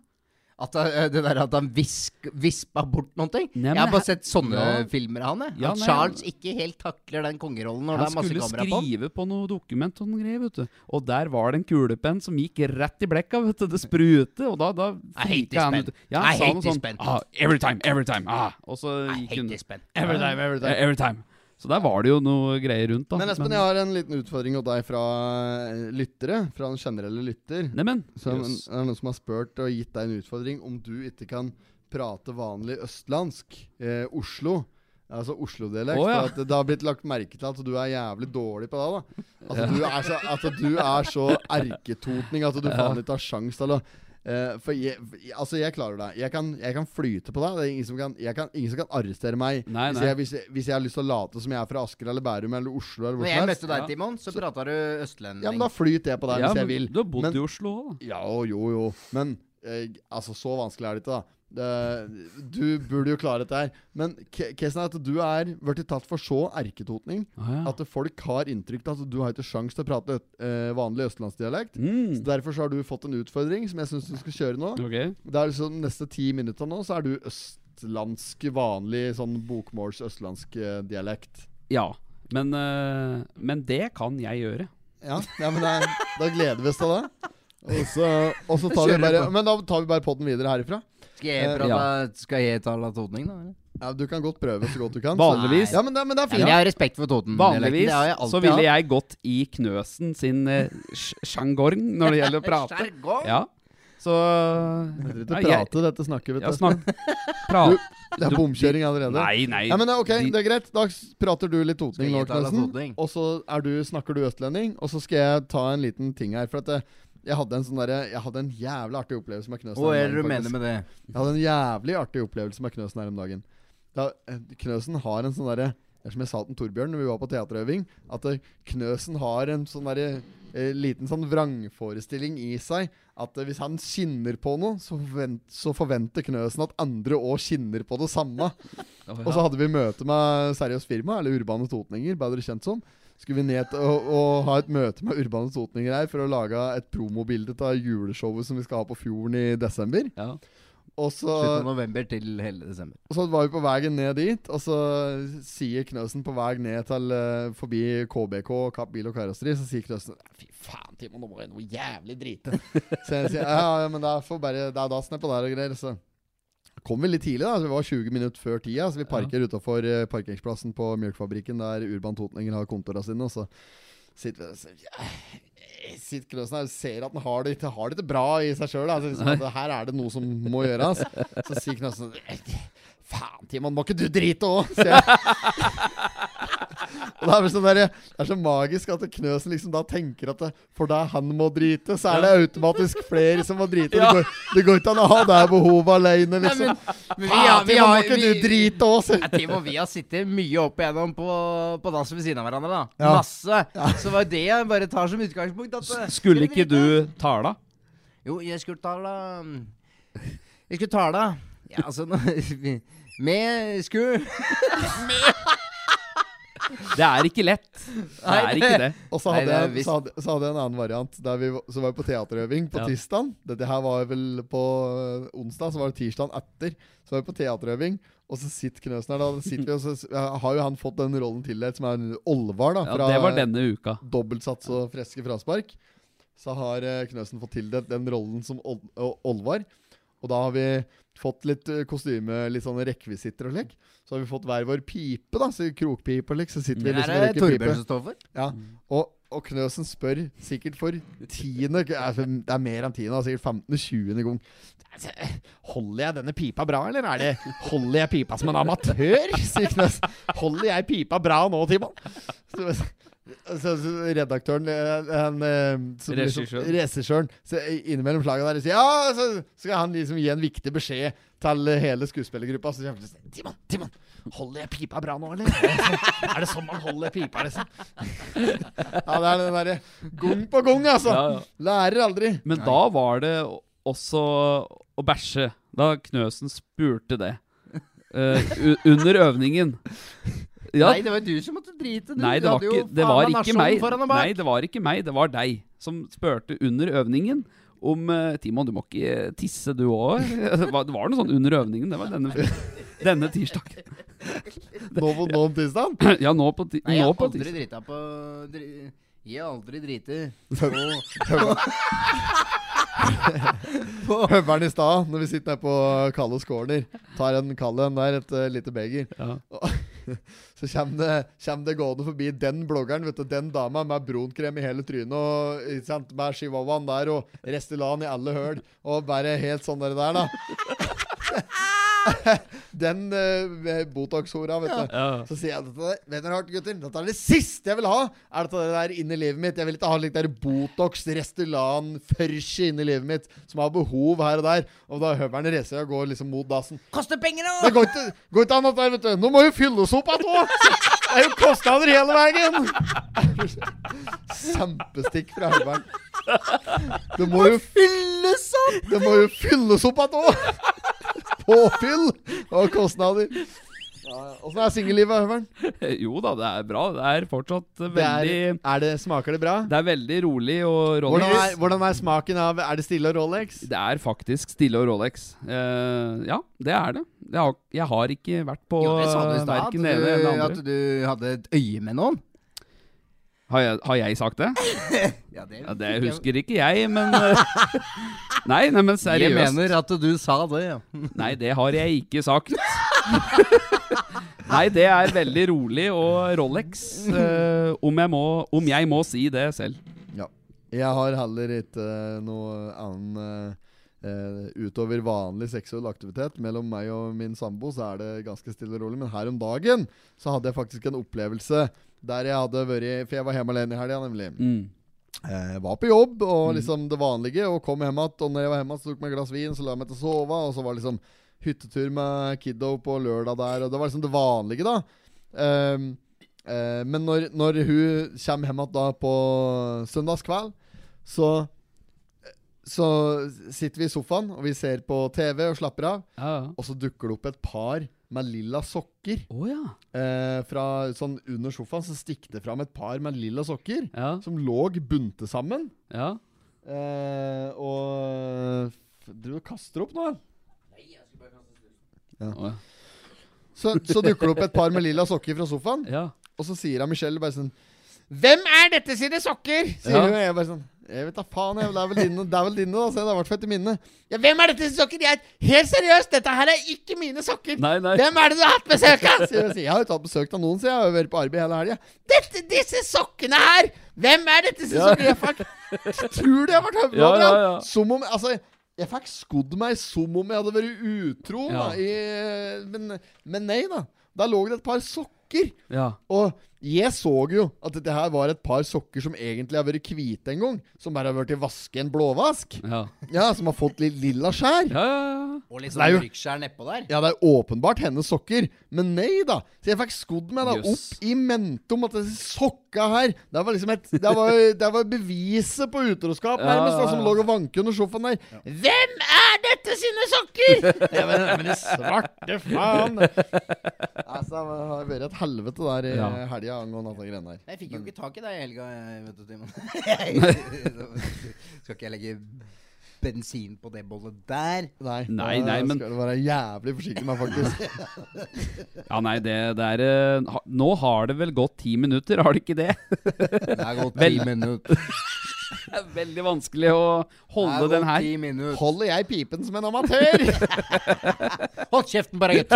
A: At han, eh, det der at han visk, vispa bort noen ting.
B: Nei, men
A: jeg har bare
B: her-
A: sett sånne
B: Ja.
A: filmer av han. jeg.
B: Ja,
A: at
B: nei,
A: Charles ikke helt takler den kongerollen når det
B: Han
A: er masse
B: skulle
A: kamera på han.
B: skrive på noe dokument og noen greier, vet du. Og der var det en kulepenn som gikk rett i blekka, vet du. Det sprute, og da, da
A: I hate
B: frika
A: this pen.
B: ut. Ja, han
A: I
B: sa
A: hate
B: noe
A: this
B: sånn,
A: pen.
B: Ah, every time, every time. Ah. Og så
A: I
B: gikk
A: hate
B: hun
A: this pen.
B: Every time, every time. Every time. Så der var det jo noe greier rundt, da.
C: Men Espen, jeg har en liten utfordring til deg fra eh, lyttere. Fra en generelle lytter.
B: Neimen,
C: Så er
B: jøss.
C: det noen som har spurt og gitt deg en utfordring om du ikke kan prate vanlig østlandsk, eh, Oslo. Altså Oslo-dialekt.
B: Å, ja.
C: for at Det har blitt lagt merke til at du er jævlig dårlig på det. da. At du er så, at du er så erketotning at du faen ikke har sjans til å eh, for jeg, altså jeg klarer det. Jeg kan, jeg kan flyte på deg. Det er ingen som kan, jeg kan, ingen som kan arrestere meg.
B: Nei,
C: hvis,
B: nei.
C: Jeg, hvis, jeg, hvis jeg har lyst til å late som jeg er fra Asker eller Bærum eller Oslo eller hvor
A: Når jeg
C: som helst,
A: møtte deg,
B: Ja.
A: Timon, så prata du østlending.
C: ja, men da flyter jeg på deg
B: Ja,
C: hvis
B: men
C: jeg vil.
B: Du har bodd
C: Men-
B: i Oslo òg, da.
C: Ja, jo, jo. Men eh, altså, så vanskelig er det ikke, da. Det, du burde jo klare dette her. Men ke- casen er at du er blitt tatt for så erketotning
B: Ah, ja.
C: at folk har inntrykk av at du har ikke sjans til å prate eh, vanlig østlandsdialekt. Så
B: mm.
C: Derfor så har du fått en utfordring som jeg syns du skal kjøre nå.
B: Ok.
C: Det er liksom De neste ti minutter nå så er du østlandsk, vanlig sånn bokmåls-østlandsk eh, dialekt.
B: Ja. Men, eh, men det kan jeg gjøre.
C: Ja, ja men det, er- da gleder vi oss til det. Og så, og så tar vi
A: Kjører
C: bare
A: på.
C: Men da tar vi bare podden videre herifra.
A: Skal jeg,
C: Eh,
A: prate,
B: ja.
A: skal jeg tale totning, da? Eller?
C: Ja, Du kan godt prøve så godt du kan. så-
B: Vanligvis,
C: Ja, men det, men det
A: Ja,
C: er fint.
A: men jeg har respekt for Toten.
B: vanligvis så ville jeg gått i Knøsen sin eh, sj- sjangorn når det gjelder å prate. Ja. Så
C: Jeg
B: Nei,
C: trenger ikke prate, dette snakker
B: Jeg,
C: vi
B: jeg
C: til.
B: snak, prat,
C: Det er
B: du-
C: bomkjøring allerede.
B: Nei, nei.
C: Ja, men det er ok,
B: De-
C: det er greit. Da s- prater du litt totning
A: Skal
C: nå,
A: jeg ta litt
C: Knutsen.
A: totning?
C: Og så er du, snakker du østlending, og så skal jeg ta en liten ting her. For at eh, jeg hadde en sånn derre Jeg hadde en jævlig artig opplevelse med Knøsen.
A: Hva er
C: her om
A: det du
C: dagen,
A: mener
C: faktisk.
A: med det?
C: Jeg hadde en jævlig artig opplevelse med Knøsen her om dagen. Da, eh, Knøsen har en sånn derre Det er som jeg sa til Torbjørn når vi var på teaterøving, at eh, Knøsen har en sånn derre eh, liten sånn vrangforestilling i seg. At eh, hvis han skinner på noe, så, forvent, så forventer Knøsen at andre òg skinner på det samme. Og så hadde vi møte med Seriøst Firma, eller Urbane Totninger, bedre kjent som. Skulle vi ned til å, å ha et møte med Urbane Totninger her for å lage et promobilde av juleshowet som vi skal ha på Fjorden i desember.
B: Ja.
C: Og så,
A: Slutten av november til hele desember.
C: og så var vi på veien ned dit, og så sier Knøsen på vei ned til eh, forbi KBK, Kapp Bil og Karosteri, så sier Knøsen Fy faen, Timon, nå må jeg noe jævlig drite. så jeg sier ja, ja, men det er, for bare, det er dass nedpå der og greier. Så kom vi litt tidlig, da. Så vi var 20 minutter før tida, så vi parker utafor parkeringsplassen på Mjølkefabrikken, der Urban Totninger har kontorene sine, og så sitter vi og så, ja, Sitter Knøsen her og ser at han har det, ikke- har det ikke bra i seg sjøl. Altså, liksom, at her er det noe som må gjøres. Så sier Knøsen Faen, Timon, må ikke du drite òg? sier jeg. Og det er, vel sånn der, det er så magisk at Knøsen liksom da tenker at det, for da han må drite, så er det automatisk flere som må drite. Det, går, det går ikke an å ha det her behovet alene, liksom. Faen, Timon, må ikke du drite òg? sier jeg.
A: Timo, vi har sittet mye opp igjennom på, på dass ved siden av hverandre. da
C: Ja.
A: Masse. Så var det jeg bare tar som utgangspunkt. At, eh,
B: Skulle
A: dere
B: ikke du tala?
A: drite? Jo, jeg skulle tale Jeg skulle tale Ja, altså nå- Med sku
B: Det er ikke lett. Det
A: Nei,
B: er ikke det.
A: det-
C: Og så
A: Nei,
C: hadde,
A: det er
C: jeg,
A: visst.
C: så, hadde, så hadde jeg en annen variant. Der vi, var- så var vi på teaterøving på
B: Ja.
C: tirsdag. Dette her var vel på øh, onsdag, så var det tirsdag etter. Så var vi på teaterøving, og så sitter Knøsen her. Da sitter vi, og så s- ja, har jo han fått den rollen tildelt, som er en Olvar, da.
B: Ja,
C: Fra
B: det var denne uka.
C: dobbeltsats og freske fraspark. Så har eh, Knøsen fått tildelt den rollen som Ol Ol- Olvar. Og da har vi fått litt eh, kostyme, litt sånne rekvisitter og lek. Så har vi fått hver vår pipe, da. Så krokpipe og lek. Så sitter vi
A: Det
C: liksom
A: er
C: og
A: det
C: rekker
A: Torbjørn
C: pipe.
A: som står for.
C: Ja, og, og Knøsen spør sikkert for tiende altså, Det er mer enn tiende, altså, sikkert 15.-20. gang. Altså, Holder jeg denne pipa bra, eller er det holder jeg pipa som en amatør? sier Knøsen. Holder jeg pipa bra nå, Timon? Så, så, så redaktøren eh, han, eh, som liksom-
B: Regissøren.
C: Regissøren. Så innimellom slaget der sier Ja, så skal han liksom gi en viktig beskjed til eh, hele skuespillergruppa. Så sier han sånn, Timon, Timon, holder jeg pipa bra nå, eller? Er det sånn man holder pipa, liksom? Ja, det er den derre gong på gong, altså.
B: Ja, ja.
C: Lærer aldri.
B: Men da var det også å bæsje. Da Knøsen spurte det. Eh, u- under øvningen. Ja,
A: Nei, det var jo du som måtte drite. Du
B: Nei, det var
A: hadde jo
B: ikke, det
A: faen
B: var
A: meg
B: ikke
A: nasjonen
B: meg.
A: foran og bak.
B: Nei, det var ikke meg. Det var deg som spurte under øvningen om eh, Timon, du må ikke tisse du òg? Det var det var noe sånn under øvningen. Det var denne, denne tirsdagen.
C: Nå på nå om tirsdagen?
B: Ja, nå på, ti,
A: Nei, jeg
B: nå
A: har
B: på
A: aldri
B: tirsdag.
A: drita på dri- Jeg har aldri driti
C: Høveren i stad, når vi sitter her på Kallos corner, tar en kald en der, et eh, lite beger.
B: Ja.
C: Så kommer det, kjem det gående forbi den bloggeren, vet du, den dama med brunkrem i hele trynet og ikke sant, med chihuahuaen der og Restylan i alle høl, og bare helt sånn der, der da. Den eh, Botox-hora, vet du.
B: Ja.
C: Så sier jeg dette der, vet dere hva, gutter, dette er det siste jeg vil ha! Er dette det der inn i livet mitt? Jeg vil ikke ha litt der Botox, Restylan, Førsje inn i livet mitt, som har behov her og der. Og da høveren reiser seg og går liksom mot dassen.
A: Koster penger, da!
C: Det går ikke, går ikke an at det er, vet du. Nå må jo fylles opp igjen òg! Det er jo kostnader hele veien! Kjempestikk fra høveren. Det må jo fylles
B: liksom!
C: opp! Det må jo fylles opp igjen òg! Påfyll og kåsnader. Åssen er singellivet, høveren?
B: Jo da, det er bra. Det er fortsatt eh,
C: Det er,
B: veldig
C: er det, smaker det bra?
B: Det er veldig rolig og Rolex.
C: Hvordan er, hvordan er smaken av Er det stille og Rolex?
B: Det er faktisk stille og Rolex. Eh, ja, det er det. Jeg har, jeg har ikke vært på
A: Jo, det sa du i
B: eh,
A: stad. at
B: verken det ene eller det
A: du- At
B: andre.
A: du hadde et øye med noen.
B: Har jeg, har jeg sagt det?
A: Ja, det,
B: Ja, Det husker ikke jeg, men eh, Nei, nei, men
A: Jeg
B: seriøst.
A: mener at du sa det, ja.
B: Nei, det har jeg ikke sagt. Nei, det er veldig rolig og Rolex, eh, om, jeg må, om jeg må si det selv.
C: Jeg har heller ikke eh, noe annen eh, eh, Utover vanlig seksuell aktivitet mellom meg og min sambo, så er det ganske stille og rolig. Men her om dagen så hadde jeg faktisk en opplevelse der jeg hadde vært For jeg var hjemme alene i helga, nemlig.
B: Mm.
C: Eh, Jeg var på jobb og liksom det vanlige, og kom hjem igjen. Og når jeg var hjemme, så tok jeg meg et glass vin, så la jeg meg til å sove. Og så var det liksom hyttetur med kiddo på lørdag der, og det var liksom det vanlige, da. Ehm, eh, men når, når hun kommer hjem igjen da på søndagskveld, så så sitter vi i sofaen og vi ser på TV og slapper av.
B: Ja, ja.
C: Og så dukker det opp et par med lilla sokker.
B: Å ja.
C: Eh, fra, sånn under sofaen så stikker det fram et par med lilla sokker
B: Ja.
C: som lå bunte sammen.
B: ja.
C: Eh, og f- Du kaster opp nå?
B: Å, ja.
C: Så, så dukker det opp et par med lilla sokker fra sofaen,
B: ja.
C: og så sier hun Michelle bare sånn Hvem er dette sine sokker? Sier
B: Ja.
C: hun. og Jeg bare sånn Jeg vet da faen, jeg. Det er vel dine, det er vel dine da. Så det er i hvert fall etter mine. Ja, hvem er dette sine sokker? Jeg er helt seriøst, dette her er ikke mine sokker.
B: Nei, nei.
C: Hvem er det du har hatt besøk av? Sier jeg, sier, jeg har jo tatt besøk av noen, sier jeg. Jeg har jo vært på arbeid hele helga. Dette, disse sokkene her! Hvem er dette som
B: Ja.
C: sokker? Jeg fikk, tror du jeg ble høvla
B: Ja,
C: over
B: ja,
C: han?
B: ja.
C: Som om Altså, jeg fikk skodd meg som om jeg hadde vært utro, da. I, men, men nei, da. Der lå det et par sokker.
B: Ja.
C: Og jeg så jo at dette her var et par sokker som egentlig har vært hvite en gang. Som bare har vært i vaske en blåvask.
B: Ja.
C: Ja, Som har fått litt lilla skjær.
B: Ja, ja, ja.
A: Og
C: Det er jo-
A: ryggskjær nedpå der.
C: Ja, det er åpenbart hennes sokker, men nei da. Så jeg fikk skodd meg da
B: Jøss.
C: opp i mente om at disse sokka her Det var liksom et Det var, det var beviset på utroskap,
B: Ja,
C: nærmest,
B: ja,
C: da, som
B: ja.
C: lå og vanket under sofaen der. Hvem er dette sine sokker?! ja, men, men det svarte faen! altså, det har vært et helvete der i
B: Ja.
C: helga angående dette greiene her.
A: Jeg fikk jo ikke tak i deg i helga, jeg, vet du, Timon. Skal ikke jeg legge bensin på det bollet der?
C: Nei,
B: Nei,
C: da
B: nei, men-
C: skal du være jævlig forsiktig med, faktisk.
B: Ja, nei, det, det er eh, ha- Nå har det vel gått ti minutter, har det ikke det?
A: Det er gått
B: Vel-
A: ti minutter.
B: Det er veldig vanskelig å
A: Det
B: holde
A: er
B: den
A: gått
B: her.
A: ti minutter.
C: Holder jeg pipen som en amatør?
A: Hold kjeften bare, gutt!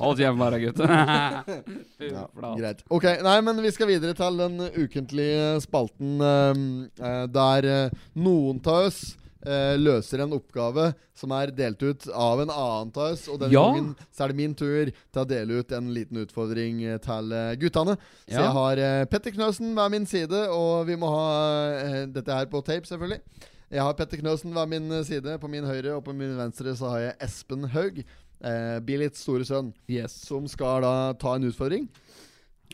B: Hold kjeft, bare, gutt. Fy
C: Ja,
B: flate.
C: greit. Ok, nei, men vi skal videre til den ukentlige spalten eh, eh, der eh, noen av oss eh, løser en oppgave som er delt ut av en annen av oss. Og denne
B: Ja.
C: gangen så er det min tur til å dele ut en liten utfordring eh, til eh, guttene. Så
B: Ja.
C: jeg har eh, Petter Knøsen ved min side, og vi må ha eh, dette her på tape, selvfølgelig. Jeg har Petter Knøsen ved min side. På min høyre og på min venstre så har jeg Espen Haug. Eh, Billits store sønn,
B: Yes.
C: som skal da ta en utfordring.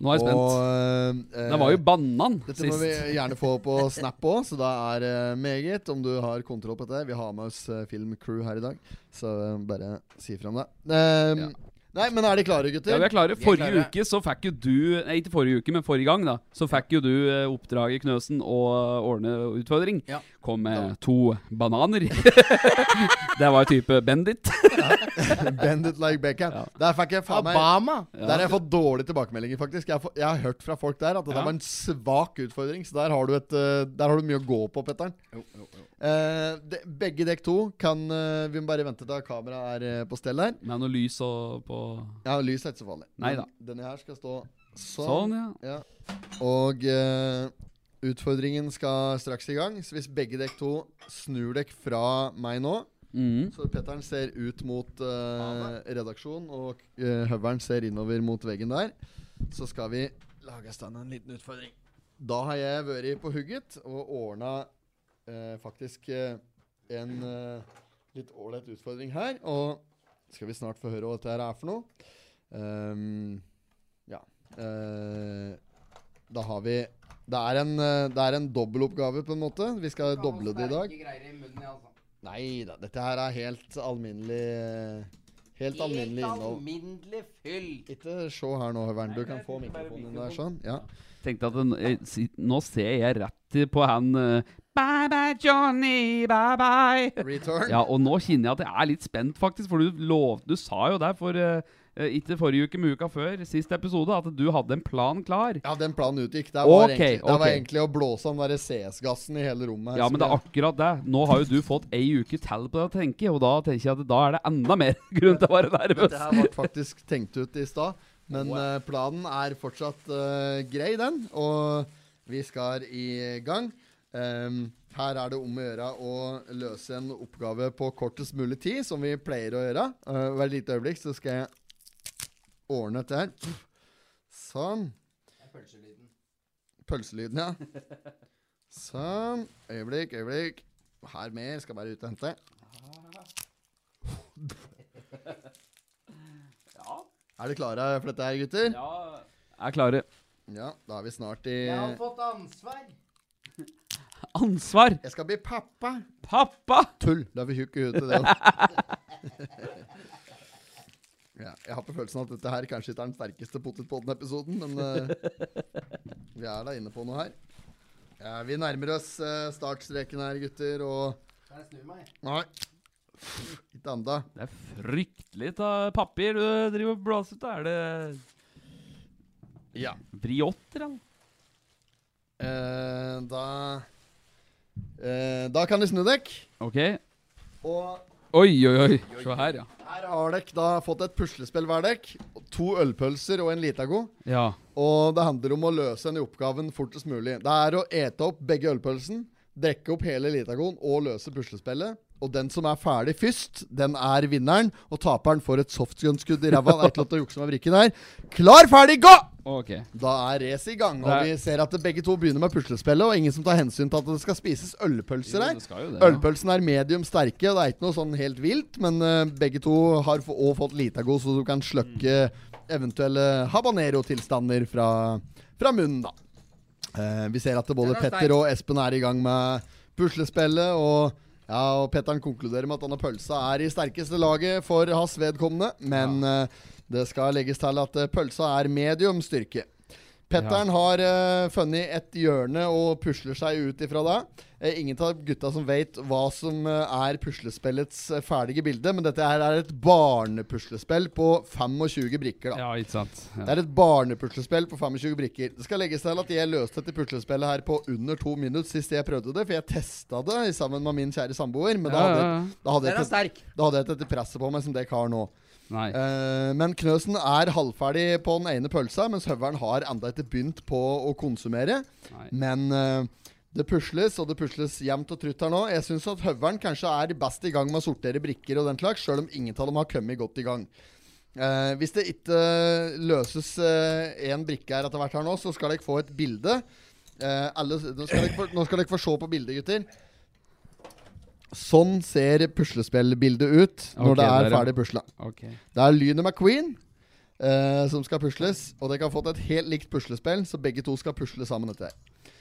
B: Nå er jeg spent.
C: Og, eh,
B: Det var jo banan
C: dette må
B: sist.
C: vi gjerne få på Snap òg, så da er det meget om du har kontroll på dette. Vi har med oss eh, filmcrew her i dag, så eh, bare si fra om det. Eh, Nei, men er de klare, gutter?
B: Ja, vi er klare.
A: Vi er
B: Forrige
A: klare.
B: uke så fikk jo du Nei, ikke forrige uke, men forrige gang, da. Så fikk jo du eh, oppdraget, Knøsen, å ordne utfordring.
A: Ja.
B: Kom med to bananer. det var type Bendit.
C: Bend it like Beckham.
B: Ja.
C: Der fikk jeg faen meg
A: Obama!
C: Der har jeg fått dårlige tilbakemeldinger, faktisk. Jeg har, fått- jeg har hørt fra folk der at det
B: Ja.
C: der var en svak utfordring. Så der har du, et, eh, der har du mye å gå på, Petter'n. Eh, de, begge dekk to kan eh, Vi må bare vente til kameraet er eh, på stell her.
B: Med noe lys og på
C: Ja, lys er ikke så farlig.
B: Nei da.
C: Men Denne her skal stå sånn.
B: Sånn, ja.
C: Ja. Og eh, utfordringen skal straks i gang. Så hvis begge dekk to snur dere fra meg nå
B: Mhm.
C: Så Petter'n ser ut mot eh, redaksjon, og eh, høvelen ser innover mot veggen der. Så skal vi lage stand en liten utfordring. Da har jeg vært på hugget og ordna eh, faktisk eh, en eh, litt ålreit utfordring her. Og skal vi snart få høre hva dette her er for noe. Ehm, ja. Eh, da har vi Det er en, eh, det er en dobbeltoppgave, på en måte. Vi skal doble det i dag. Nei da, dette her er helt alminnelig eh, Helt alminnelig innhold.
A: Alminnelig fyll.
C: Ikke se her nå, Høveren. Du
B: Nei,
C: kan
B: jeg
C: få
B: tenkte bare
C: mikrofonen din der sånn. Ja.
B: Tenkte at den, eh, si- Nå ser jeg rett i- på han eh, Bye bye, Johnny, bye bye.
C: Return.
B: Ja, og nå kjenner jeg at jeg er litt spent, faktisk. For du lovte Du sa jo der for eh, eh, ikke forrige uke, men uka før, sist episode, at du hadde en plan klar.
C: Ja, den planen utgikk. Det var,
B: Ok,
C: egentlig, det var
B: ok.
C: egentlig å blåse den derre CS-gassen i hele rommet. her,
B: Ja,
C: som
B: men det er
C: jeg-
B: akkurat det. Nå har jo du fått ei uke til på det å tenke, og da tenker jeg at da er det enda mer grunn til å være
C: Det
B: nervøs.
C: her ble faktisk tenkt ut i stad. Men eh, planen er fortsatt eh, grei, den. Og vi skal i gang. Ehm, her er det om å gjøre å løse en oppgave på kortest mulig tid, som vi pleier å gjøre. Uh, Hvert lite øyeblikk så skal jeg ordne dette her. Sånn. Pølselyden, ja. Sånn. Øyeblikk, øyeblikk. Her mer. Skal bare ut og hente. Er dere klare for dette her, gutter?
B: Ja, jeg er klare.
C: Ja, da er vi snart i
A: Jeg har fått ansvar.
B: Ansvar!
C: Jeg skal bli pappa.
B: Pappa!
C: Tull! Da er vi tjukke i huet til det òg. ja, jeg har på følelsen at dette her kanskje ikke er den sterkeste Potetpodden-episoden, men eh, vi er da inne på noe her. Ja, vi nærmer oss eh, startstreken her, gutter, og
A: Kan jeg snu meg?
C: Nei. Ikke enda.
B: Det er fryktelig av papir du driver og blåser ut av. Er det
C: Ja.
B: briotter, eller?
C: Eh, da eh, Da kan dere snu dere.
B: OK.
C: Og
B: Oi, oi, oi. Se her, ja.
C: her har dere da fått et puslespill hver dere. To ølpølser og en Litago.
B: Ja.
C: Og det handler om å løse denne oppgaven fortest mulig. Det er å ete opp begge ølpølsen, drikke opp hele Litagon og løse puslespillet. Og den som er ferdig først, den er vinneren. Og taperen får et softgun-skudd i ræva. Det er ikke lov til å jukse med brikken her. Klar, ferdig, gå!
B: OK.
C: Da er racet i gang.
B: Det
C: Og
B: er-
C: vi ser at begge to begynner med puslespillet, og ingen som tar hensyn til at det skal spises ølpølser her.
B: det skal jo det, ja.
C: Ølpølsen er medium sterke, og det er ikke noe sånn helt vilt, men eh, begge to har få- også fått Litago, så du kan slukke eventuelle habanero-tilstander fra, fra munnen, da. Eh, vi ser at både Petter og Espen er i gang med puslespillet, og ja, og Petteren konkluderer med at denne pølsa er i sterkeste laget for hans vedkommende, men eh, det skal legges til at eh, pølsa er medium styrke. Petteren har eh, funnet et hjørne og pusler seg ut ifra det. Eh, ingen av gutta som vet hva som eh, er puslespillets eh, ferdige bilde, men dette her er et barnepuslespill på 25 brikker. da.
B: Ja, ikke sant.
C: Det er et barnepuslespill på 25 brikker. Det skal legges til at jeg løste dette puslespillet her på under to minutter sist jeg prøvde det, for jeg testa det sammen med min kjære samboer, men da
B: Ja,
C: hadde,
B: ja, ja.
C: da
A: Den
C: hadde, jeg,
A: er
C: ikke-
A: sterk.
C: da hadde jeg ikke dette presset på meg som dere har nå.
B: Nei.
C: Eh, men Knøsen er halvferdig på den ene pølsa, mens høveren har enda ikke begynt på å konsumere.
B: Nei.
C: Men eh, det pusles, og det pusles jevnt og trutt her nå. Jeg syns at høveren kanskje er best i gang med å sortere brikker og den slags, sjøl om ingen av dem har kommet godt i gang. Eh, hvis det ikke eh, løses én brikke her etter hvert her nå, så skal dere få et bilde. Eh, alle, nå, skal dere få, nå skal dere få se på bildet, gutter. Sånn ser puslespillbildet ut når
B: Ok,
C: det er
B: der, ja.
C: ferdig pusla.
B: OK.
C: Det er Lynet McQueen eh, som skal pusles. Og dere har fått et helt likt puslespill, så begge to skal pusle sammen dette. her.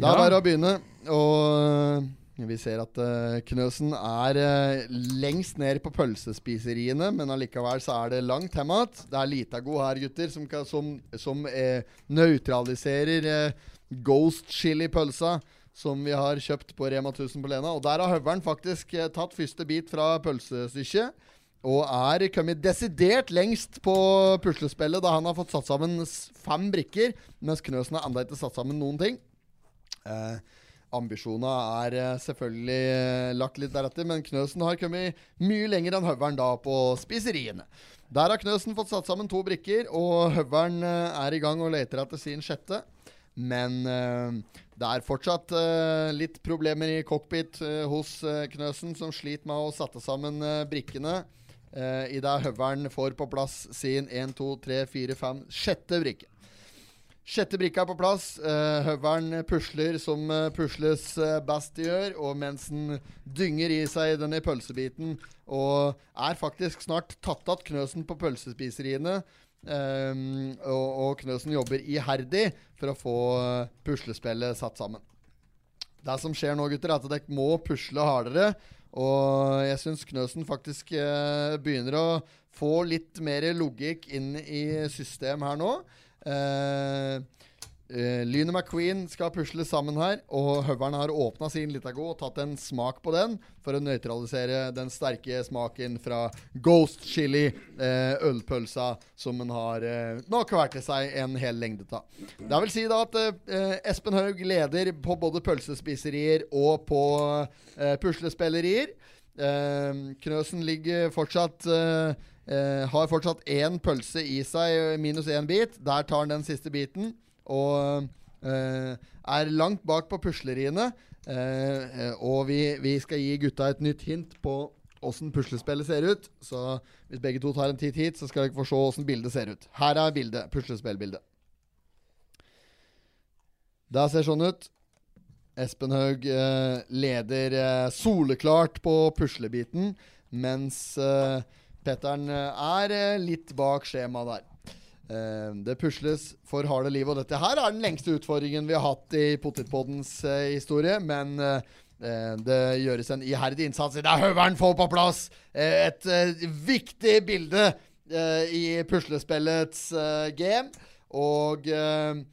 C: Da er det bare å begynne. Og Vi ser at eh, Knøsen er eh, lengst ned på pølsespiseriene, men allikevel så er det langt hjem igjen. Det er Litago her, gutter, som, kan, som, som eh, nøytraliserer eh, Ghost Chili-pølsa som vi har kjøpt på Rema 1000 på Lena. Og der har høveren faktisk eh, tatt første bit fra pølsestykket. Og er kommet desidert lengst på puslespillet, da han har fått satt sammen s- fem brikker, mens Knøsen har enda ikke satt sammen noen ting. Eh, Ambisjonene er eh, selvfølgelig eh, lagt litt deretter, men Knøsen har kommet mye lenger enn Høveren da på spiseriene. Der har Knøsen fått satt sammen to brikker, og Høveren eh, er i gang og leter etter sin sjette. Men eh, det er fortsatt eh, litt problemer i cockpit eh, hos eh, Knøsen, som sliter med å sette sammen eh, brikkene. Uh, Idet Høveren får på plass sin 1, 2, 3, 4, 5, sjette brikke. Sjette brikka er på plass. Eh, høveren pusler som eh, pusles eh, best de gjør, og mens den dynger i seg denne pølsebiten og er faktisk snart tatt att Knøsen på pølsespiseriene. ehm, og, og Knøsen jobber iherdig for å få eh, puslespillet satt sammen. Det som skjer nå, gutter, er at dere må pusle hardere. Og jeg syns Knøsen faktisk eh, begynner å få litt mer logikk inn i system her nå. Eh, eh, Lyne McQueen skal pusle sammen her, og høveren har åpna sin Litago og tatt en smak på den for å nøytralisere den sterke smaken fra Ghost Chili, eh, ølpølsa som en har eh, nok vært til seg en hel lengde av. Det vil si da at eh, Espen Haug leder på både pølsespiserier og på eh, puslespillerier. Eh, Knøsen ligger fortsatt eh, eh, Har fortsatt én pølse i seg, minus én bit. Der tar han den siste biten. Og eh, er langt bak på pusleriene. Eh, eh, og vi, vi skal gi gutta et nytt hint på åssen puslespillet ser ut. Så hvis begge to tar en titt hit, så skal dere få se åssen bildet ser ut. Her er bildet. Puslespillbildet. Det ser sånn ut. Espen Haug eh, leder eh, soleklart på puslebiten, mens eh, Petteren eh, er eh, litt bak skjemaet der. Eh, det pusles for harde liv, og dette her er den lengste utfordringen vi har hatt i Potetpoddens eh, historie, men eh, eh, det gjøres en iherdig innsats. Det er høveren får på plass! Eh, et eh, viktig bilde eh, i puslespillets eh, game, og eh,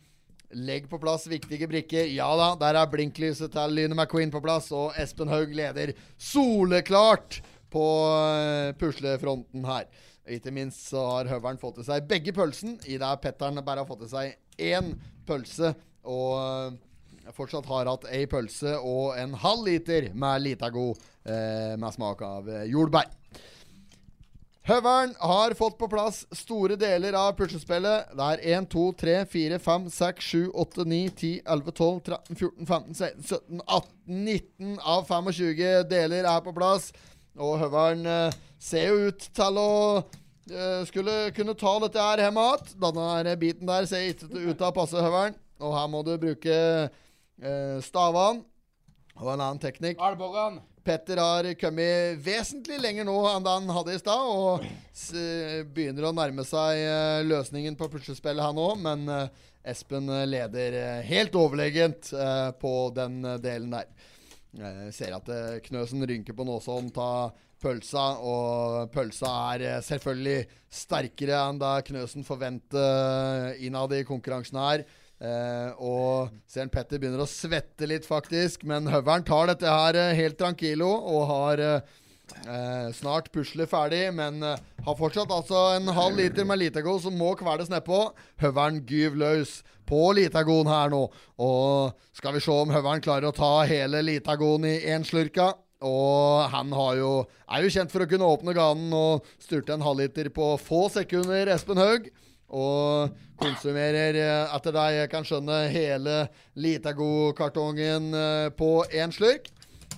C: Legg på plass viktige brikker. Ja da, der er blinklyset til Lyne McQueen på plass, og Espen Haug leder soleklart på eh, puslefronten her. Ikke minst så har Høveren fått til seg begge pølsen, i det Petteren bare har fått til seg én pølse. Og eh, fortsatt har hatt ei pølse og en halv liter med Litago eh, med smak av eh, jordbær. Høveren har fått på plass store deler av puslespillet. Det er 1, 2, 3, 4, 5, 6, 7, 8, 9, 10, 11, 12, 13, 14, 15, 16, 17, 18, 19 av 25 deler er på plass. Og Høveren eh, ser jo ut til å eh, skulle kunne ta dette her hjemme igjen. Denne her biten der ser ikke ut til å passe Høveren. Og her må du bruke eh, stavene og en annen teknikk.
G: Alboggan.
C: Petter har kommet vesentlig lenger nå enn det han hadde i stad, og s eh, begynner å nærme seg eh, løsningen på puslespillet han òg, men eh, Espen eh, leder eh, helt overlegent eh, på den eh, delen der. Eh, ser at eh, Knøsen rynker på nåsen, tar pølsa, og pølsa er eh, selvfølgelig sterkere enn det Knøsen forventer eh, innad i konkurransen her. Eh, og Seren Petter begynner å svette litt, faktisk, men høveren tar dette her eh, helt tranquilo og har eh, eh, snart puslet ferdig, men eh, har fortsatt altså en halv liter med Litago som må kveles nedpå. Høveren gyv løs på Litagoen her nå, og skal vi se om høveren klarer å ta hele Litagoen i én slurka. Og han har jo, er jo kjent for å kunne åpne ganen og styrte en halvliter på få sekunder, Espen Haug. Og konsumerer, eh, etter det jeg kan skjønne, hele Litago-kartongen eh, på én slurk.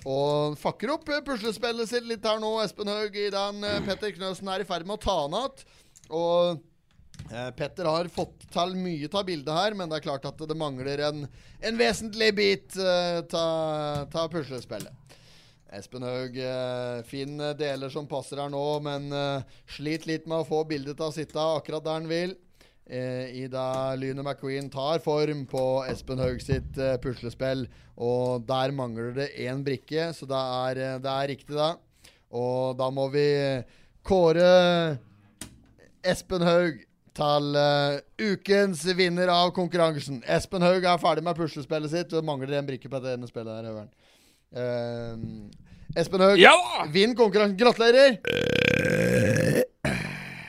C: Og fakker opp eh, puslespillet sitt litt her nå, Espen Haug, i den eh, Petter Knøsen er i ferd med å ta han igjen. Og Eh, Petter har fått til mye av bildet her, men det er klart at det mangler en, en vesentlig bit av puslespillet. Espen Haug, eh, fin deler som passer her nå, men eh, sliter litt med å få bildet til å sitte akkurat der han vil. eh, i da Lyne McQueen tar form på Espen Haug sitt eh, puslespill. Og der mangler det én brikke, så det er, eh, det er riktig, da. Og da må vi kåre Espen Haug til eh, ukens vinner av konkurransen. Espen Haug er ferdig med puslespillet sitt. Det mangler en brikke på dette ene spillet her, Høveren. Eh, Espen Haug,
B: Ja da!
C: vinn konkurransen. Gratulerer!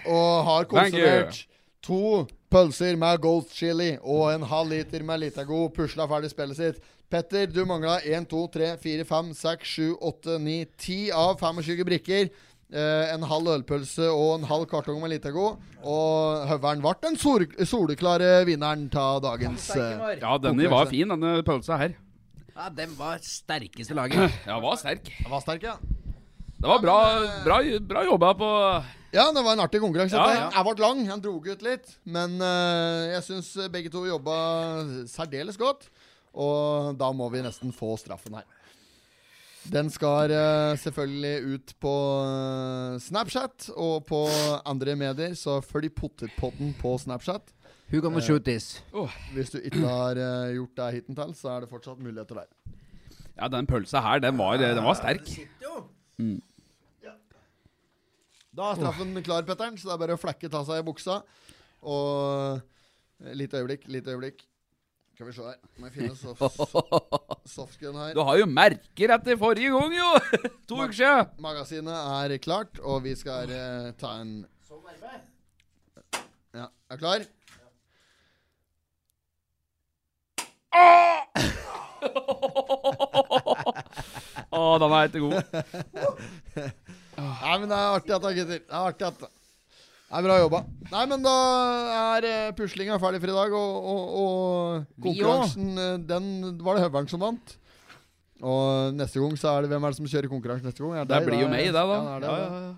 C: Og har
B: Thank you.
C: konsumert to pølser med gold chili og en halv liter med Litago. Pusla ferdig spillet sitt. Petter, du mangla 1, 2, 3, 4, 5, 6, 7, 8, 9, 10 av 25 brikker. Eh, en halv ølpølse og en halv kartong med Litago. Og Høveren ble den sol soleklare vinneren av dagens eh,
B: Ja, denne var fin, denne pølsa her.
A: Ja, den var sterkeste laget.
B: Ja, var sterk.
C: eh, Var sterk, ja.
B: Det var bra, bra, bra jobba på
C: Ja, det var en artig konkurranse.
B: Ja,
C: dette.
B: ja.
C: Jeg ble lang, han dro ut litt. Men eh, jeg syns begge to jobba særdeles godt. Og da må vi nesten få straffen her. Den skal eh, selvfølgelig ut på eh, Snapchat og på andre medier, så følg Potetpotten på Snapchat.
A: Who gonna shoot this?
C: Hvis du ikke har eh, gjort det hittil, så er det fortsatt muligheter der.
B: Ja, den pølsa her, den var, den var sterk.
C: Da er straffen klar, Petter'n, så det er bare å flekke ta seg i buksa. Og eh, Litt øyeblikk, litt øyeblikk. Skal vi se her. Må jeg finne soft, softgun her.
B: Du har jo merker etter forrige gang, jo! To uker siden.
C: Magasinet er klart, og vi skal eh, ta en Ja, er du klar?
B: Å, den er ikke god.
C: Nei, men det er artig at da, gutter. Det er artig at det. Det er bra jobba. Nei, men da er eh, puslinga ferdig for i dag, og, og, og
A: Vi
C: konkurransen eh, Den var det høveren som vant. Og neste gang så er det hvem er det som kjører konkurransen neste gang? Er
B: Det
C: deg,
B: blir jo meg, det, da.
C: Ja, det
B: Ja,
C: er det,
B: ja, ja.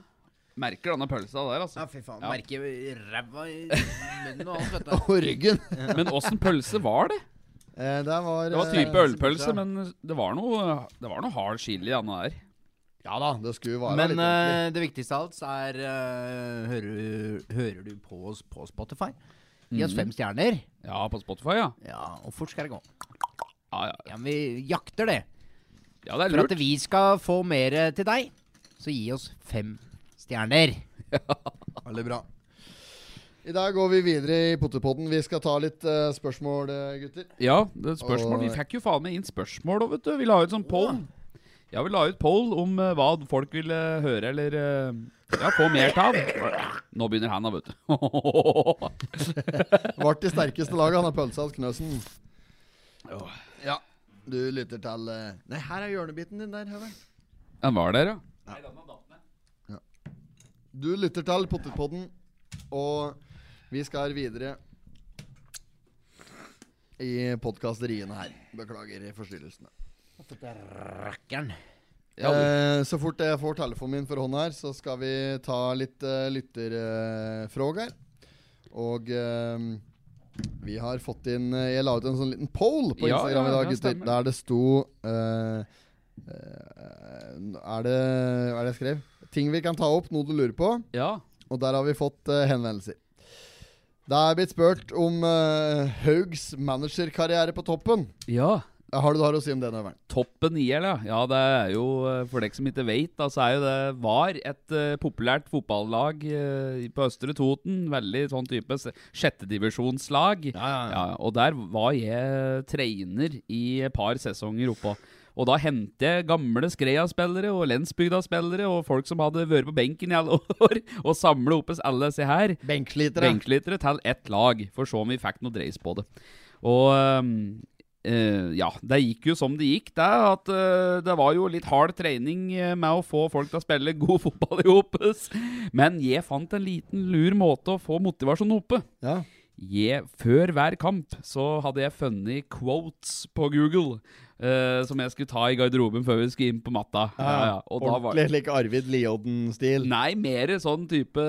B: Merker denne pølsa der, altså.
A: Ja, fy faen.
B: Ja.
A: Merker ræva i munnen og alt, vet du.
C: Og ryggen.
B: Men åssen pølse var det?
C: Eh, det var,
B: Det var
C: eh,
B: type ølpølse, men det var noe, det var noe hard chili i denne der.
C: Ja da, det skulle være
A: Men
C: litt ordentlig.
A: eh, det viktigste av alt er eh, hører, hører du på oss på Spotify? Gi oss fem stjerner.
B: Ja, på Spotify, ja.
A: Ja, og fort skal det gå.
B: Ja, ja.
A: Ja, men Vi jakter det.
B: ja det er
A: For at
B: lurt.
A: vi skal få mer eh, til deg, så gi oss fem stjerner.
C: Veldig bra.
B: eh,
C: I dag går vi videre i potetpodden. Vi skal ta litt eh, spørsmål, eh, gutter.
B: Ja, det er et spørsmål. Vi fikk jo faen meg inn spørsmål òg, vet du. Vi la ut sånn poll. Ja, vi la ut poll om eh, hva folk ville høre eller eh, ja, få mer av. Nå begynner han, da, vet du.
C: Vart i sterkeste laget, han har pølsa hos Knøsen. Ja, du lytter til eh, Nei, her er hjørnebiten din der, Høveren.
B: Han var der, ja.
C: Du lytter til Potetpodden, og vi skal videre i podkasteriene her. Beklager forstyrrelsene.
A: Rakkeren.
C: Eh, så fort jeg får telefonen min for hånda her, så skal vi ta litt eh, lytterfrågor. og eh, vi har fått inn eh, Jeg la ut en sånn liten poll på
B: Ja,
C: Instagram
B: ja,
C: i dag,
B: ja,
C: gutter.
B: stemmer.
C: Der det sto eh, eh, Er det Hva er det jeg skrev? Ting vi kan ta opp, noe du lurer på.
B: Ja.
C: Og der har vi fått eh, henvendelser. Det er blitt spurt om eh, Haugs managerkarriere på toppen.
B: ja.
C: Har du noe å si om det, Nøveren?
B: Toppen IL, ja. ja. Det er jo, eh, for dere som ikke vet, da, så er jo det var et eh, populært fotballag eh, på Østre Toten. Veldig sånn type se- sjettedivisjonslag. Ja, og der var jeg trener i et par sesonger oppå. Og da hentet jeg gamle Skreia-spillere og Lensbygda-spillere og folk som hadde vært på benken i alle år, og samla opp alle disse her
C: Benkslitere.
B: benkslitere til ett lag, for så om vi fikk noe dreis på det. Og ehm, eh, ja, det gikk jo som det gikk, det. At eh, det var jo litt hard trening eh, med å få folk til å spille god fotball i Opes. Men jeg fant en liten lur måte å få motivasjon oppe.
C: Ja.
B: Jeg, før hver kamp så hadde jeg funnet quotes på Google eh, som jeg skulle ta i garderoben før vi skulle inn på matta. Ja, ja. Og da var,
C: Ordentlig slik Arvid Liodden-stil.
B: Nei, mer sånn type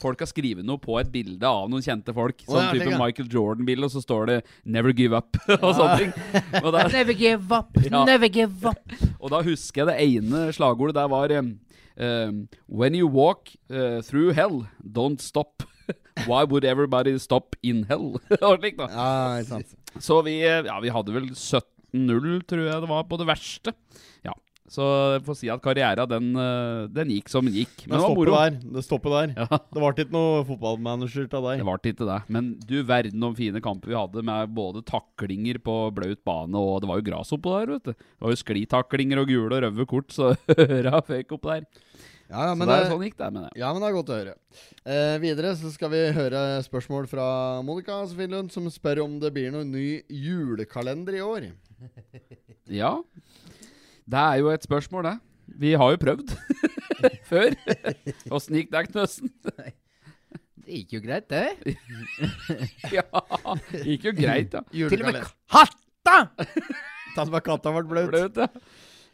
B: Folk har skrevet noe på et bilde av noen kjente folk. Sånn
C: ja, slik,
B: type
C: ja.
B: Michael Jordan-bilde, og så står det 'Never give up' og sånne ting. Og da,
A: Never give up,
B: Ja.
A: never give up.
B: og da husker jeg det ene slagordet der var eh, eh, 'When you walk eh, through hell, don't stop'. Why would everybody stop in hell? Og slik da.
C: Ja, ikke sant.
B: Så vi, ja, vi hadde vel 17-0, tror jeg det var, på det verste. Ja, Så jeg får si at karriera, den, eh, den gikk som den gikk. Men
G: Det
B: det var
G: stopper
B: moro.
G: der. Det stopper der.
B: Ja,
G: Det ble ikke noe fotballmanager til
B: det
G: deg.
B: var ikke det. Men du verden om fine kamper vi hadde, med både taklinger på blaut bane, og det var jo gress oppå der, vet du. Det var jo sklitaklinger og gule og røde kort, så øra føk opp der.
C: Ja, ja,
B: Så
C: men,
B: det
C: eh,
B: er sånn gikk det, mener jeg.
C: Ja, men det er godt å høre. Eh, videre så skal vi høre spørsmål fra Monica Finlund, som spør om det blir noen ny julekalender i år.
B: Ja. Det er jo et spørsmål, det. Vi har jo prøvd før. Åssen gikk det, Knøsen?
A: Det gikk jo greit, det.
B: Ja, gikk jo greit, da.
A: Til og med
C: Julekalender.
A: hatta!
G: Tatt med katta ble blaut.
B: Blaut, ja.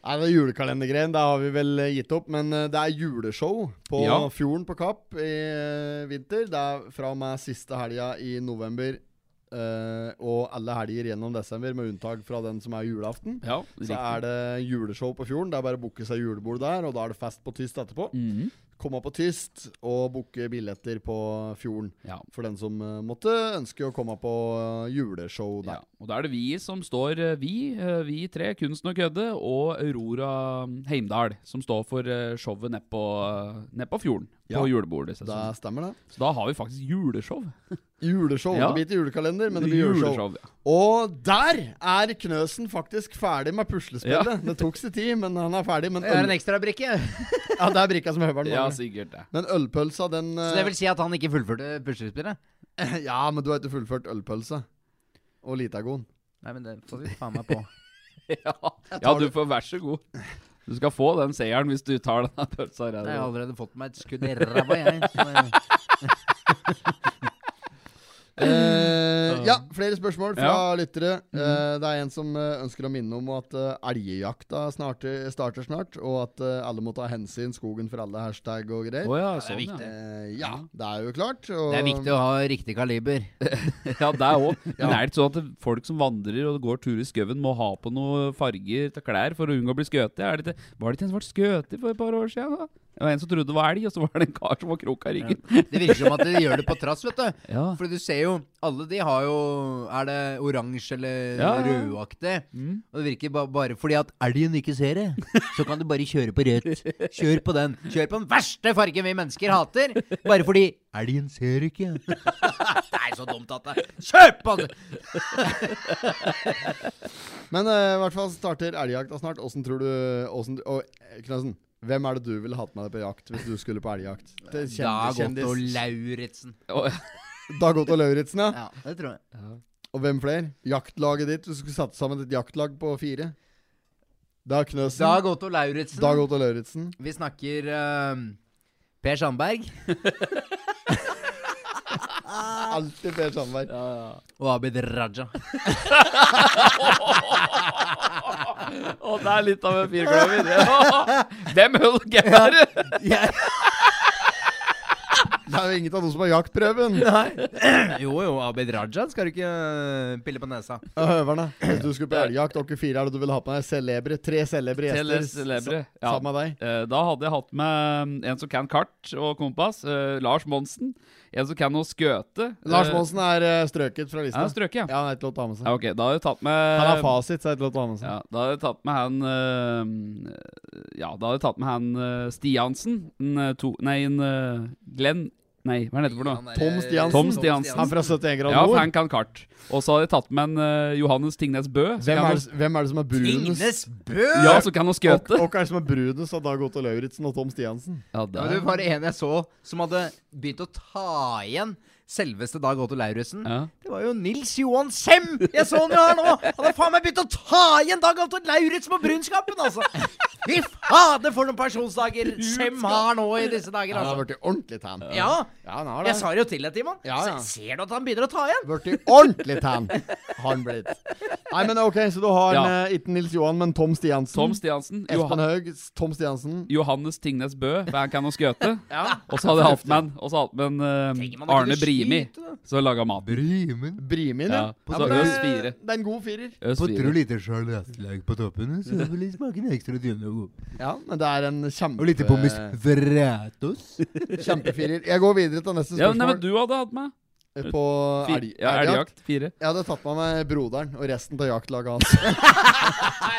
C: Nei, det er julekalendergreien, det har vi vel eh, gitt opp. Men eh, det er juleshow på
B: Ja.
C: Fjorden på Kapp i eh, vinter. Det er fra og med siste helga i november eh, og alle helger gjennom desember, med unntak fra den som er julaften.
B: ja
C: Så er det juleshow på Fjorden. Det er bare å booke seg julebord der, og da er det fest på Tyst etterpå.
B: Mhm.
C: komme på tyst og booke billetter på Fjorden.
B: Ja.
C: For den som eh, måtte ønske å komme på eh, juleshow
B: ja.
C: der.
B: Og da er det vi som står eh, Vi, eh, vi tre, Kunsten og Kødde, og Aurora mm, Heimdal, som står for eh, showet nede på, eh, ned på fjorden.
C: Ja.
B: På julebordet. Så,
C: Det stemmer, det.
B: så da har vi faktisk juleshow.
C: Juleshow.
B: Ja.
C: Det blir ikke julekalender, men det blir juleshow.
B: ja.
C: Og der er Knøsen faktisk ferdig med puslespillet. Det tok sin tid, men han er ferdig. Men
A: Det er en
C: øl...
A: ekstrabrikke.
C: ja, det er brikka som høveren
B: ja,
C: mangler.
B: sikkert det.
C: Men ølpølsa, den
A: Så
C: eh,
A: det vil si at han ikke fullførte puslespillet?
C: Ja, men du har ikke fullført ølpølsa. Og Litagon.
A: Nei, men det får vi faen meg på.
B: Ja. ja, du får vær så god. Du skal få den seieren hvis du tar denne pølsa. her.
A: Jeg har allerede fått meg et skudd i ræva, jeg. Så
C: Eh, ja, flere spørsmål fra
B: Ja.
C: lyttere. Eh, det er en som eh, ønsker å minne om at uh, elgjakta snart, eh, starter snart, og at eh, alle må ta hensyn skogen for alle, hashtag og greier.
B: Å ja, sånn,
A: viktig.
B: ja.
C: Eh, ja, det er jo klart. Og,
A: det er viktig å ha riktig kaliber.
B: Ja, det òg. Men er det ikke sånn at det- folk som vandrer og går tur i skauen, må ha på noen farger til klær for å unngå å bli skutt? Er det ikke- Var det ikke en som ble skutt for et par år siden? Da? Det var en som trodde det var elg, og så var det en kar som var krok i ryggen.
A: Det virker som at de gjør det på trass, vet du.
B: Ja.
A: For du ser jo, alle de har jo Er det oransje eller
B: Ja, ja.
A: rødaktig? Og det virker ba bare fordi at elgen ikke ser det, så kan du bare kjøre på rødt. Kjør på den. Kjør på den verste fargen vi mennesker hater, bare fordi elgen ser ikke. det er så dumt at det Kjør på den!
C: Men eh, i hvert fall starter elgjakta snart. Åssen tror du åssen, og, eh, Knudsen, hvem er det du ville hatt med deg på jakt hvis du skulle på elgjakt? Det er
A: Dag
C: kjendis-
A: Otto Lauritzen.
B: Å, ja.
C: Dag Otto Lauritzen, ja.
A: Ja, det tror jeg.
C: Og hvem flere? Jaktlaget ditt. Du skulle satt sammen et jaktlag på fire. Da Knøsen.
A: Dag Otto Lauritzen.
C: Dag Otto Lauritzen.
A: Vi snakker ehm, Per Sandberg
C: Alltid Per Sandberg.
A: og Abid Raja.
B: Å, det er litt av en firkløver. Ja. Hvem holdt gevær?
C: Det er jo ingen av dem som har jaktprøven.
A: Jo, jo, Abid Raja skal du ikke øh, pille på nesa.
C: Ja, Høverne, hvis du skulle på elgjakt, dere fire er det du vil ha på deg? Celebre, tre celebre gjester.
B: Tele- celebre, ja.
C: sa- Sammen med deg.
B: Eh, Da hadde jeg hatt med en som kan kart og kompass. eh, Lars Monsen. En som kan noe skøte.
C: Lars
B: eh,
C: Monsen er eh, strøket fra
B: Ja,
C: lista.
B: strøket, ja.
C: Ja, han er ikke lov til å ha med seg.
B: ja. Ok, da har jeg tatt med
C: Han har fasit, så er det ikke lov til å ha med seg.
B: Eh, Ja, da hadde jeg tatt med han eh, Ja, da hadde jeg tatt med han eh, Stiansen. En, eh, to, nei, en eh, Glenn Nei, hva er det for noe?
C: Tom Stiansen.
B: Tom Stiansen.
C: Han er fra 71 grader
B: Ja, for han
C: nord.
B: kan kart. Og så hadde jeg tatt med en eh, Johannes Tingnes Bø. som
C: Hvem
B: kan
C: er, det- hvem er det som er brunest?
A: Ingnes Bø!
B: noe- Ja, så kan han
C: Og
B: skøte.
C: og hvem er det som er brunest av Dag Otto Lauritzen og Tom Stiansen?
B: Ja,
A: Ja,
B: der.
A: det var en jeg så som hadde begynt å ta igjen selveste Dag Otto Lauritzen.
B: Ja.
A: Det var jo Nils Johan Sem! Jeg så han jo her nå! Han hadde faen meg begynt å ta igjen Dag Otto Lauritzen på brunskapen, altså! Fy fader, for noen pensjonsdager Sem har nå i disse dager,
C: Han har
A: altså.
C: blitt ordentlig tan.
A: Ja,
C: Ja, han har det.
A: jeg sa det jo til deg, Timon.
C: Ja, ja.
A: Se- Ser du at han begynner å ta igjen?
C: Blitt ordentlig tan. Har han blitt. Nei, men ok, så du har
B: Ja.
C: eh, ikke Nils Johan, men Tom Stiansen.
B: Tom Stiansen.
C: Mm. Espen
B: Johan
C: Haug, Tom Stiansen.
B: Johannes Tingnes Bø, for han kan noe skøte. Og så hadde jeg hatt med en, og så hadde jeg hatt med en eh,
A: Tenker man da kunne
B: Arne
A: skyte
B: Brimi, så laga maten.
H: Brimen.
C: Brimin, ja.
B: Ja, så
C: men
B: øs fire.
C: Det er en god firer.
B: Øs
H: På
B: fire.
H: tre liter charlettlag på toppen, så det blir smaken ekstra dynende og god.
C: Ja, men det er en kjempe...
H: Og lite pommes fratos.
C: Kjempefirer. Jeg går videre til neste
B: Ja, nei, men
C: spørsmål.
B: du hadde hatt meg.
C: På
B: Fire-
C: elg,
B: ja,
C: elgjakt.
B: elgjakt. Fire.
C: Jeg hadde tatt med meg broderen og resten av jaktlaget hans.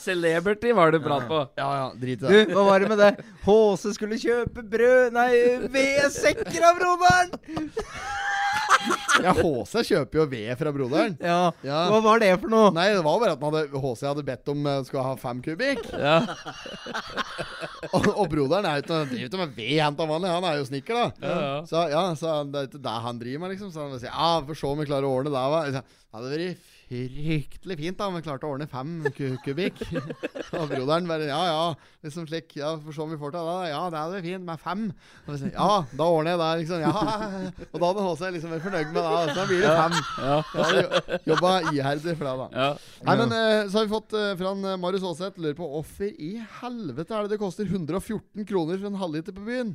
B: Celebrity var det prat på.
C: Ja, ja, drit i
A: Du,
C: det.
A: hva var det med det? Håse skulle kjøpe brød Nei, vedsekker av broderen!
C: Ja, HC kjøper jo ved fra broderen.
A: Ja,
C: Ja.
A: hva var det for noe?
C: Nei, det var bare at han hadde, HC hadde bedt om eh, skulle ha fem kubikk.
B: Ja.
C: Og, og broderen er jo ikke noe- driver ikke med ved, hent av vanlig. Han er jo snekker, da.
B: Ja, ja.
C: Så ja, så han- det er ikke det han driver med, liksom. Så han vil si ja, vi får se om vi klarer å ordne det. hva?» Jeg sa, Ja, det hadde vært fryktelig fint da om vi klarte å ordne fem ku kubikk. og broderen bare ja, ja, liksom slik. Ja, vi får se om vi får til det. da. Ja, det hadde vært fint med fem. Og vi sier, ja, da ordner jeg det, liksom. Ja. Og da hadde HC liksom vært fornøyd med det. og Så blir det fem.
B: Ja.
C: Da hadde jo- Jobba iherdig for det, da.
B: Ja.
C: Nei, men eh, så har vi fått eh, fra en eh, Marius Aaseth lurer på hvorfor i helvete er det det koster 114 kroner for en halvliter på byen?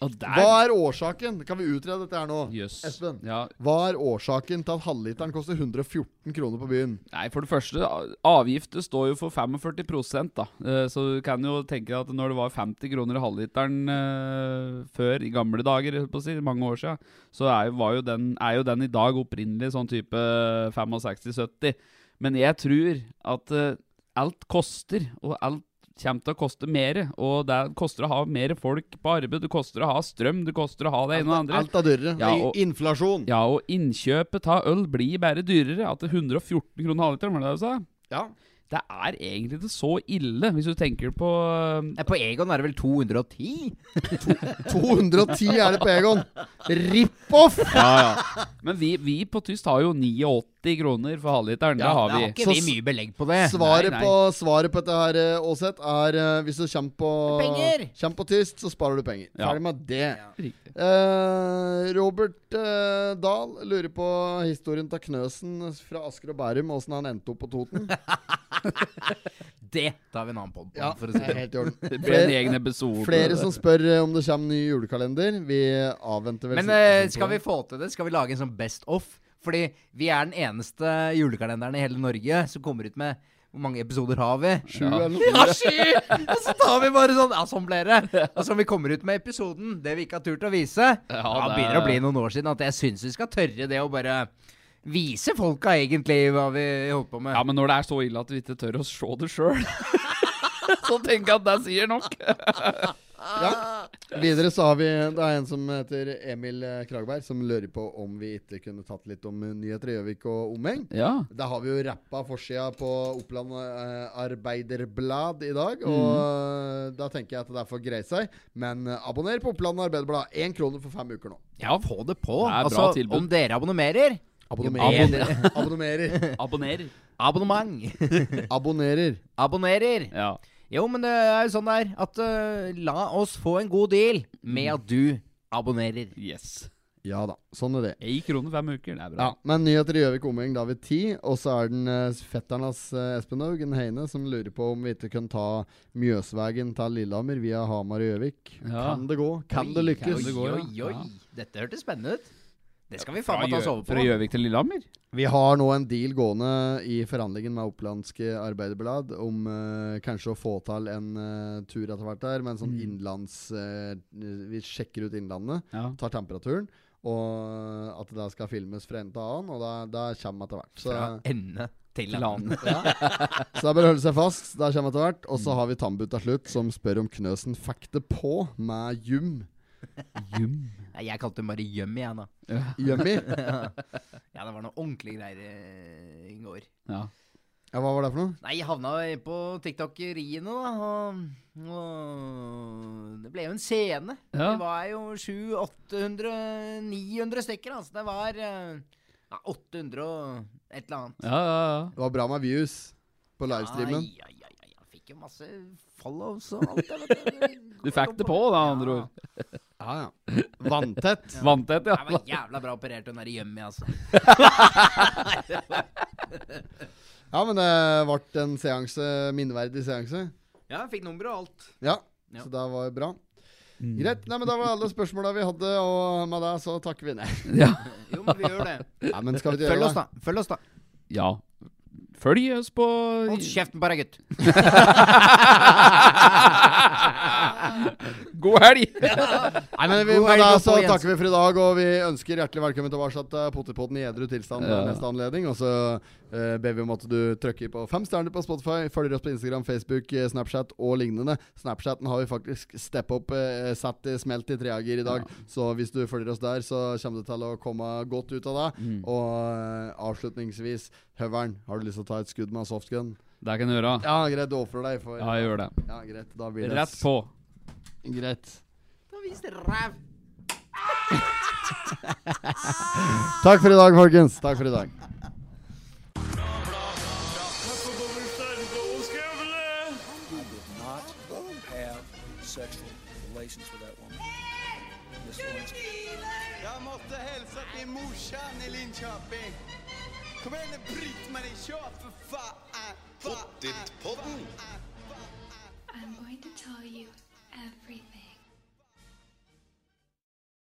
B: Og
C: Hva
B: der
C: er årsaken? Kan vi utrede dette her nå?
B: Jøss.
C: Espen.
B: Ja.
C: Hva er årsaken til at halvliteren koster 114 kroner på byen?
B: Nei, for det første, a- avgifter står jo for 45 da. Eh, Så du kan jo tenke deg at når det var 50 kroner i halvliteren eh, før, i gamle dager, holdt på å si, mange år siden, så er jo, var jo, den, er jo den i dag opprinnelig sånn type 65-70. Men jeg tror at eh, alt koster, og alt kommer til å koste mer. Og det koster å ha mer folk på arbeid, det koster å ha strøm, det koster å ha det ene og det andre.
C: Alt er dyrere.
B: Ja, og-
C: Inflasjon.
B: Ja, og innkjøpet av øl blir bare dyrere. At det er 114 kroner halvliteren, var det det du sa?
C: Ja.
B: Det er egentlig ikke så ille, hvis du tenker på um,
A: Nei, På Egon er det vel 210?
C: 210 er det på Egon. Rip-off!
B: Men vi, vi på Tyst har jo 89 kroner for halvliteren. det har vi.
A: ikke vi mye belegg på det.
C: Svaret,
B: Eh, nei.
C: på, svaret på dette her, eh, Åseth, er eh, hvis du kommer på,
A: Penger.
C: kommer på tyst, så sparer du penger.
B: Ja.
C: Ferdig med det.
B: Riktig.
C: Eh, Robert eh, Dahl lurer på historien til Knøsen fra Asker og Bærum, åssen han endte opp på Toten.
A: Det tar vi en annen pod på. for å
C: det
A: si
C: er
A: det.
C: helt i orden.
B: Det blir en egen episode.
C: Flere som spør eh, om det kommer ny julekalender. Vi avventer vel sånn
A: Men eh, skal vi få til det, skal vi lage en sånn best off. Fordi vi er den eneste julekalenderen i hele Norge som kommer ut med Hvor mange episoder har vi?
C: Sju eller noe
A: Ja, sky! Og så tar vi bare sånn Ja, sånn ble det. Og så om vi kommer ut med episoden, det vi ikke har turt å vise Ja, det
B: det-
A: begynner å bli noen år siden at jeg syns vi skal tørre det å bare vise folka egentlig hva vi holdt på med.
B: Ja, men når det er så ille at vi ikke tør å se det sjøl, så tenker jeg at det sier nok.
C: Videre så har vi Det er en som heter Emil eh, Kragberg, som lurer på om vi ikke kunne tatt litt om eh, nyheter i Gjøvik og omheng.
B: Ja.
C: Da har vi jo rappa forsida på Oppland eh, Arbeiderblad i dag. Og eh, da tenker jeg at det er for greit seg. Men eh, abonner på Oppland Arbeiderblad. Én krone for fem uker nå.
A: Ja, få det på.
B: Det er bra
A: altså,
B: tilbud.
A: om dere abonnerer
C: Abonnerer. Abonnerer.
B: Abonner.
A: Abonnement.
C: Abonnerer.
A: Abonnerer.
B: Ja.
A: Jo, men det er jo sånn der at eh, la oss få en god deal med at du abonnerer.
B: Yes.
C: Ja da, sånn er det.
B: Ei krone fem uker, det er bra.
C: Ja, Men nyheter i Gjøvik omgjeng da ved ti. Og så er den eh, fetteren hans eh, Espen Haugen Heine som lurer på om vi ikke kan ta Mjøsvegen til Lillehammer via Hamar og Gjøvik.
B: Ja.
C: Kan det gå? Kan det
B: Oi,
C: lykkes?
B: det går,
A: Oi,
B: ja.
A: oi,
B: Ja.
A: oi. Dette hørtes spennende ut. Det skal vi
B: Fra
A: faen meg ta oss
B: Gjø-
A: over
B: Fra
A: på.
B: Gjøvik til Lillehammer?
C: Vi har nå en deal gående i forhandlingen med Opplandske Arbeiderblad om eh, kanskje å få til en eh, tur etter hvert der, men sånn
B: Mm.
C: innlands eh, Vi sjekker ut Innlandet,
B: Ja.
C: tar temperaturen, og at det da skal filmes fra ende til annen, og da, da kommer etter hvert. Så,
A: Fra ende til annen.
C: så det er bare å holde seg fast. Da kommer etter hvert. Og så har vi Tambu til slutt, som spør om Knøsen fikk det på med Jum.
A: Nei, Jeg kalte den bare Gjøm igjen, da.
C: Jummi?
A: Ja, det var noe ordentlige greier eh, i går.
B: Ja.
C: Ja, hva var det for noe?
A: Nei, jeg havna jo på TikTok-riene, da. Og, og det ble jo en scene.
B: Ja.
A: Det var jo 700-800-900 stykker, altså. Det var eh, ja, 800 og et eller annet.
B: Ja, ja, ja.
C: Det var bra med views på livestreamen.
A: Ai, ai, ai, ai, jeg fikk jo masse follows og alt. Jeg vet,
B: Du fikk det på, da, andre ord.
C: Ja, ja. Vanntett.
B: Vanntett,
A: Jeg
B: ja.
A: var jævla bra operert, den der Yummy, altså.
C: Ja, men det ble en seanse, minneverdig seanse.
A: Ja, jeg fikk nummeret og alt.
C: Ja,
A: Ja.
C: så det var bra. Greit. Nei, men Da var alle spørsmåla vi hadde, og med det så takker vi ned.
B: Ja.
A: Jo, men vi gjør det.
C: Nei, men skal vi ikke
A: Følg
C: gjøre
A: oss,
C: det?
A: da. Følg oss da
B: ja. Følg oss på
A: Hold kjeften på deg, gutt.
B: God helg!
C: Nei, men vi,
A: God
C: med
A: helg
C: det
A: og
C: så
A: god
C: takker vi for i dag, og vi ønsker hjertelig velkommen tilbake til Pottipotten i edru tilstand ved
B: Ja.
C: neste anledning. Og så eh, ber vi om at du trykker på fem stjerner på Spotify, følger oss på Instagram, Facebook, eh, Snapchat og lignende. Snapchaten har vi faktisk step up, eh, satt i smelt i treager i dag. Så hvis du følger oss der, så kommer du til å komme godt ut av det.
B: Mm.
C: Og eh, avslutningsvis, Høveren, har du lyst til å ta et skudd med en softgun?
B: Det kan du gjøre.
C: Ja, greit, du ofrer deg for
B: Ja, jeg gjør det.
C: Ja, greit, da blir det
B: Rett på.
C: Greit.
A: Da vis det ræv.
C: Takk for i dag, folkens. Takk for i dag.
I: I did not have sexual relations with that woman. Miss Lewinsky.
E: Jag måste hälsa till morsan i Linköping. Kom igen nu Britt-Marie, kör för fan! Pottitpodden!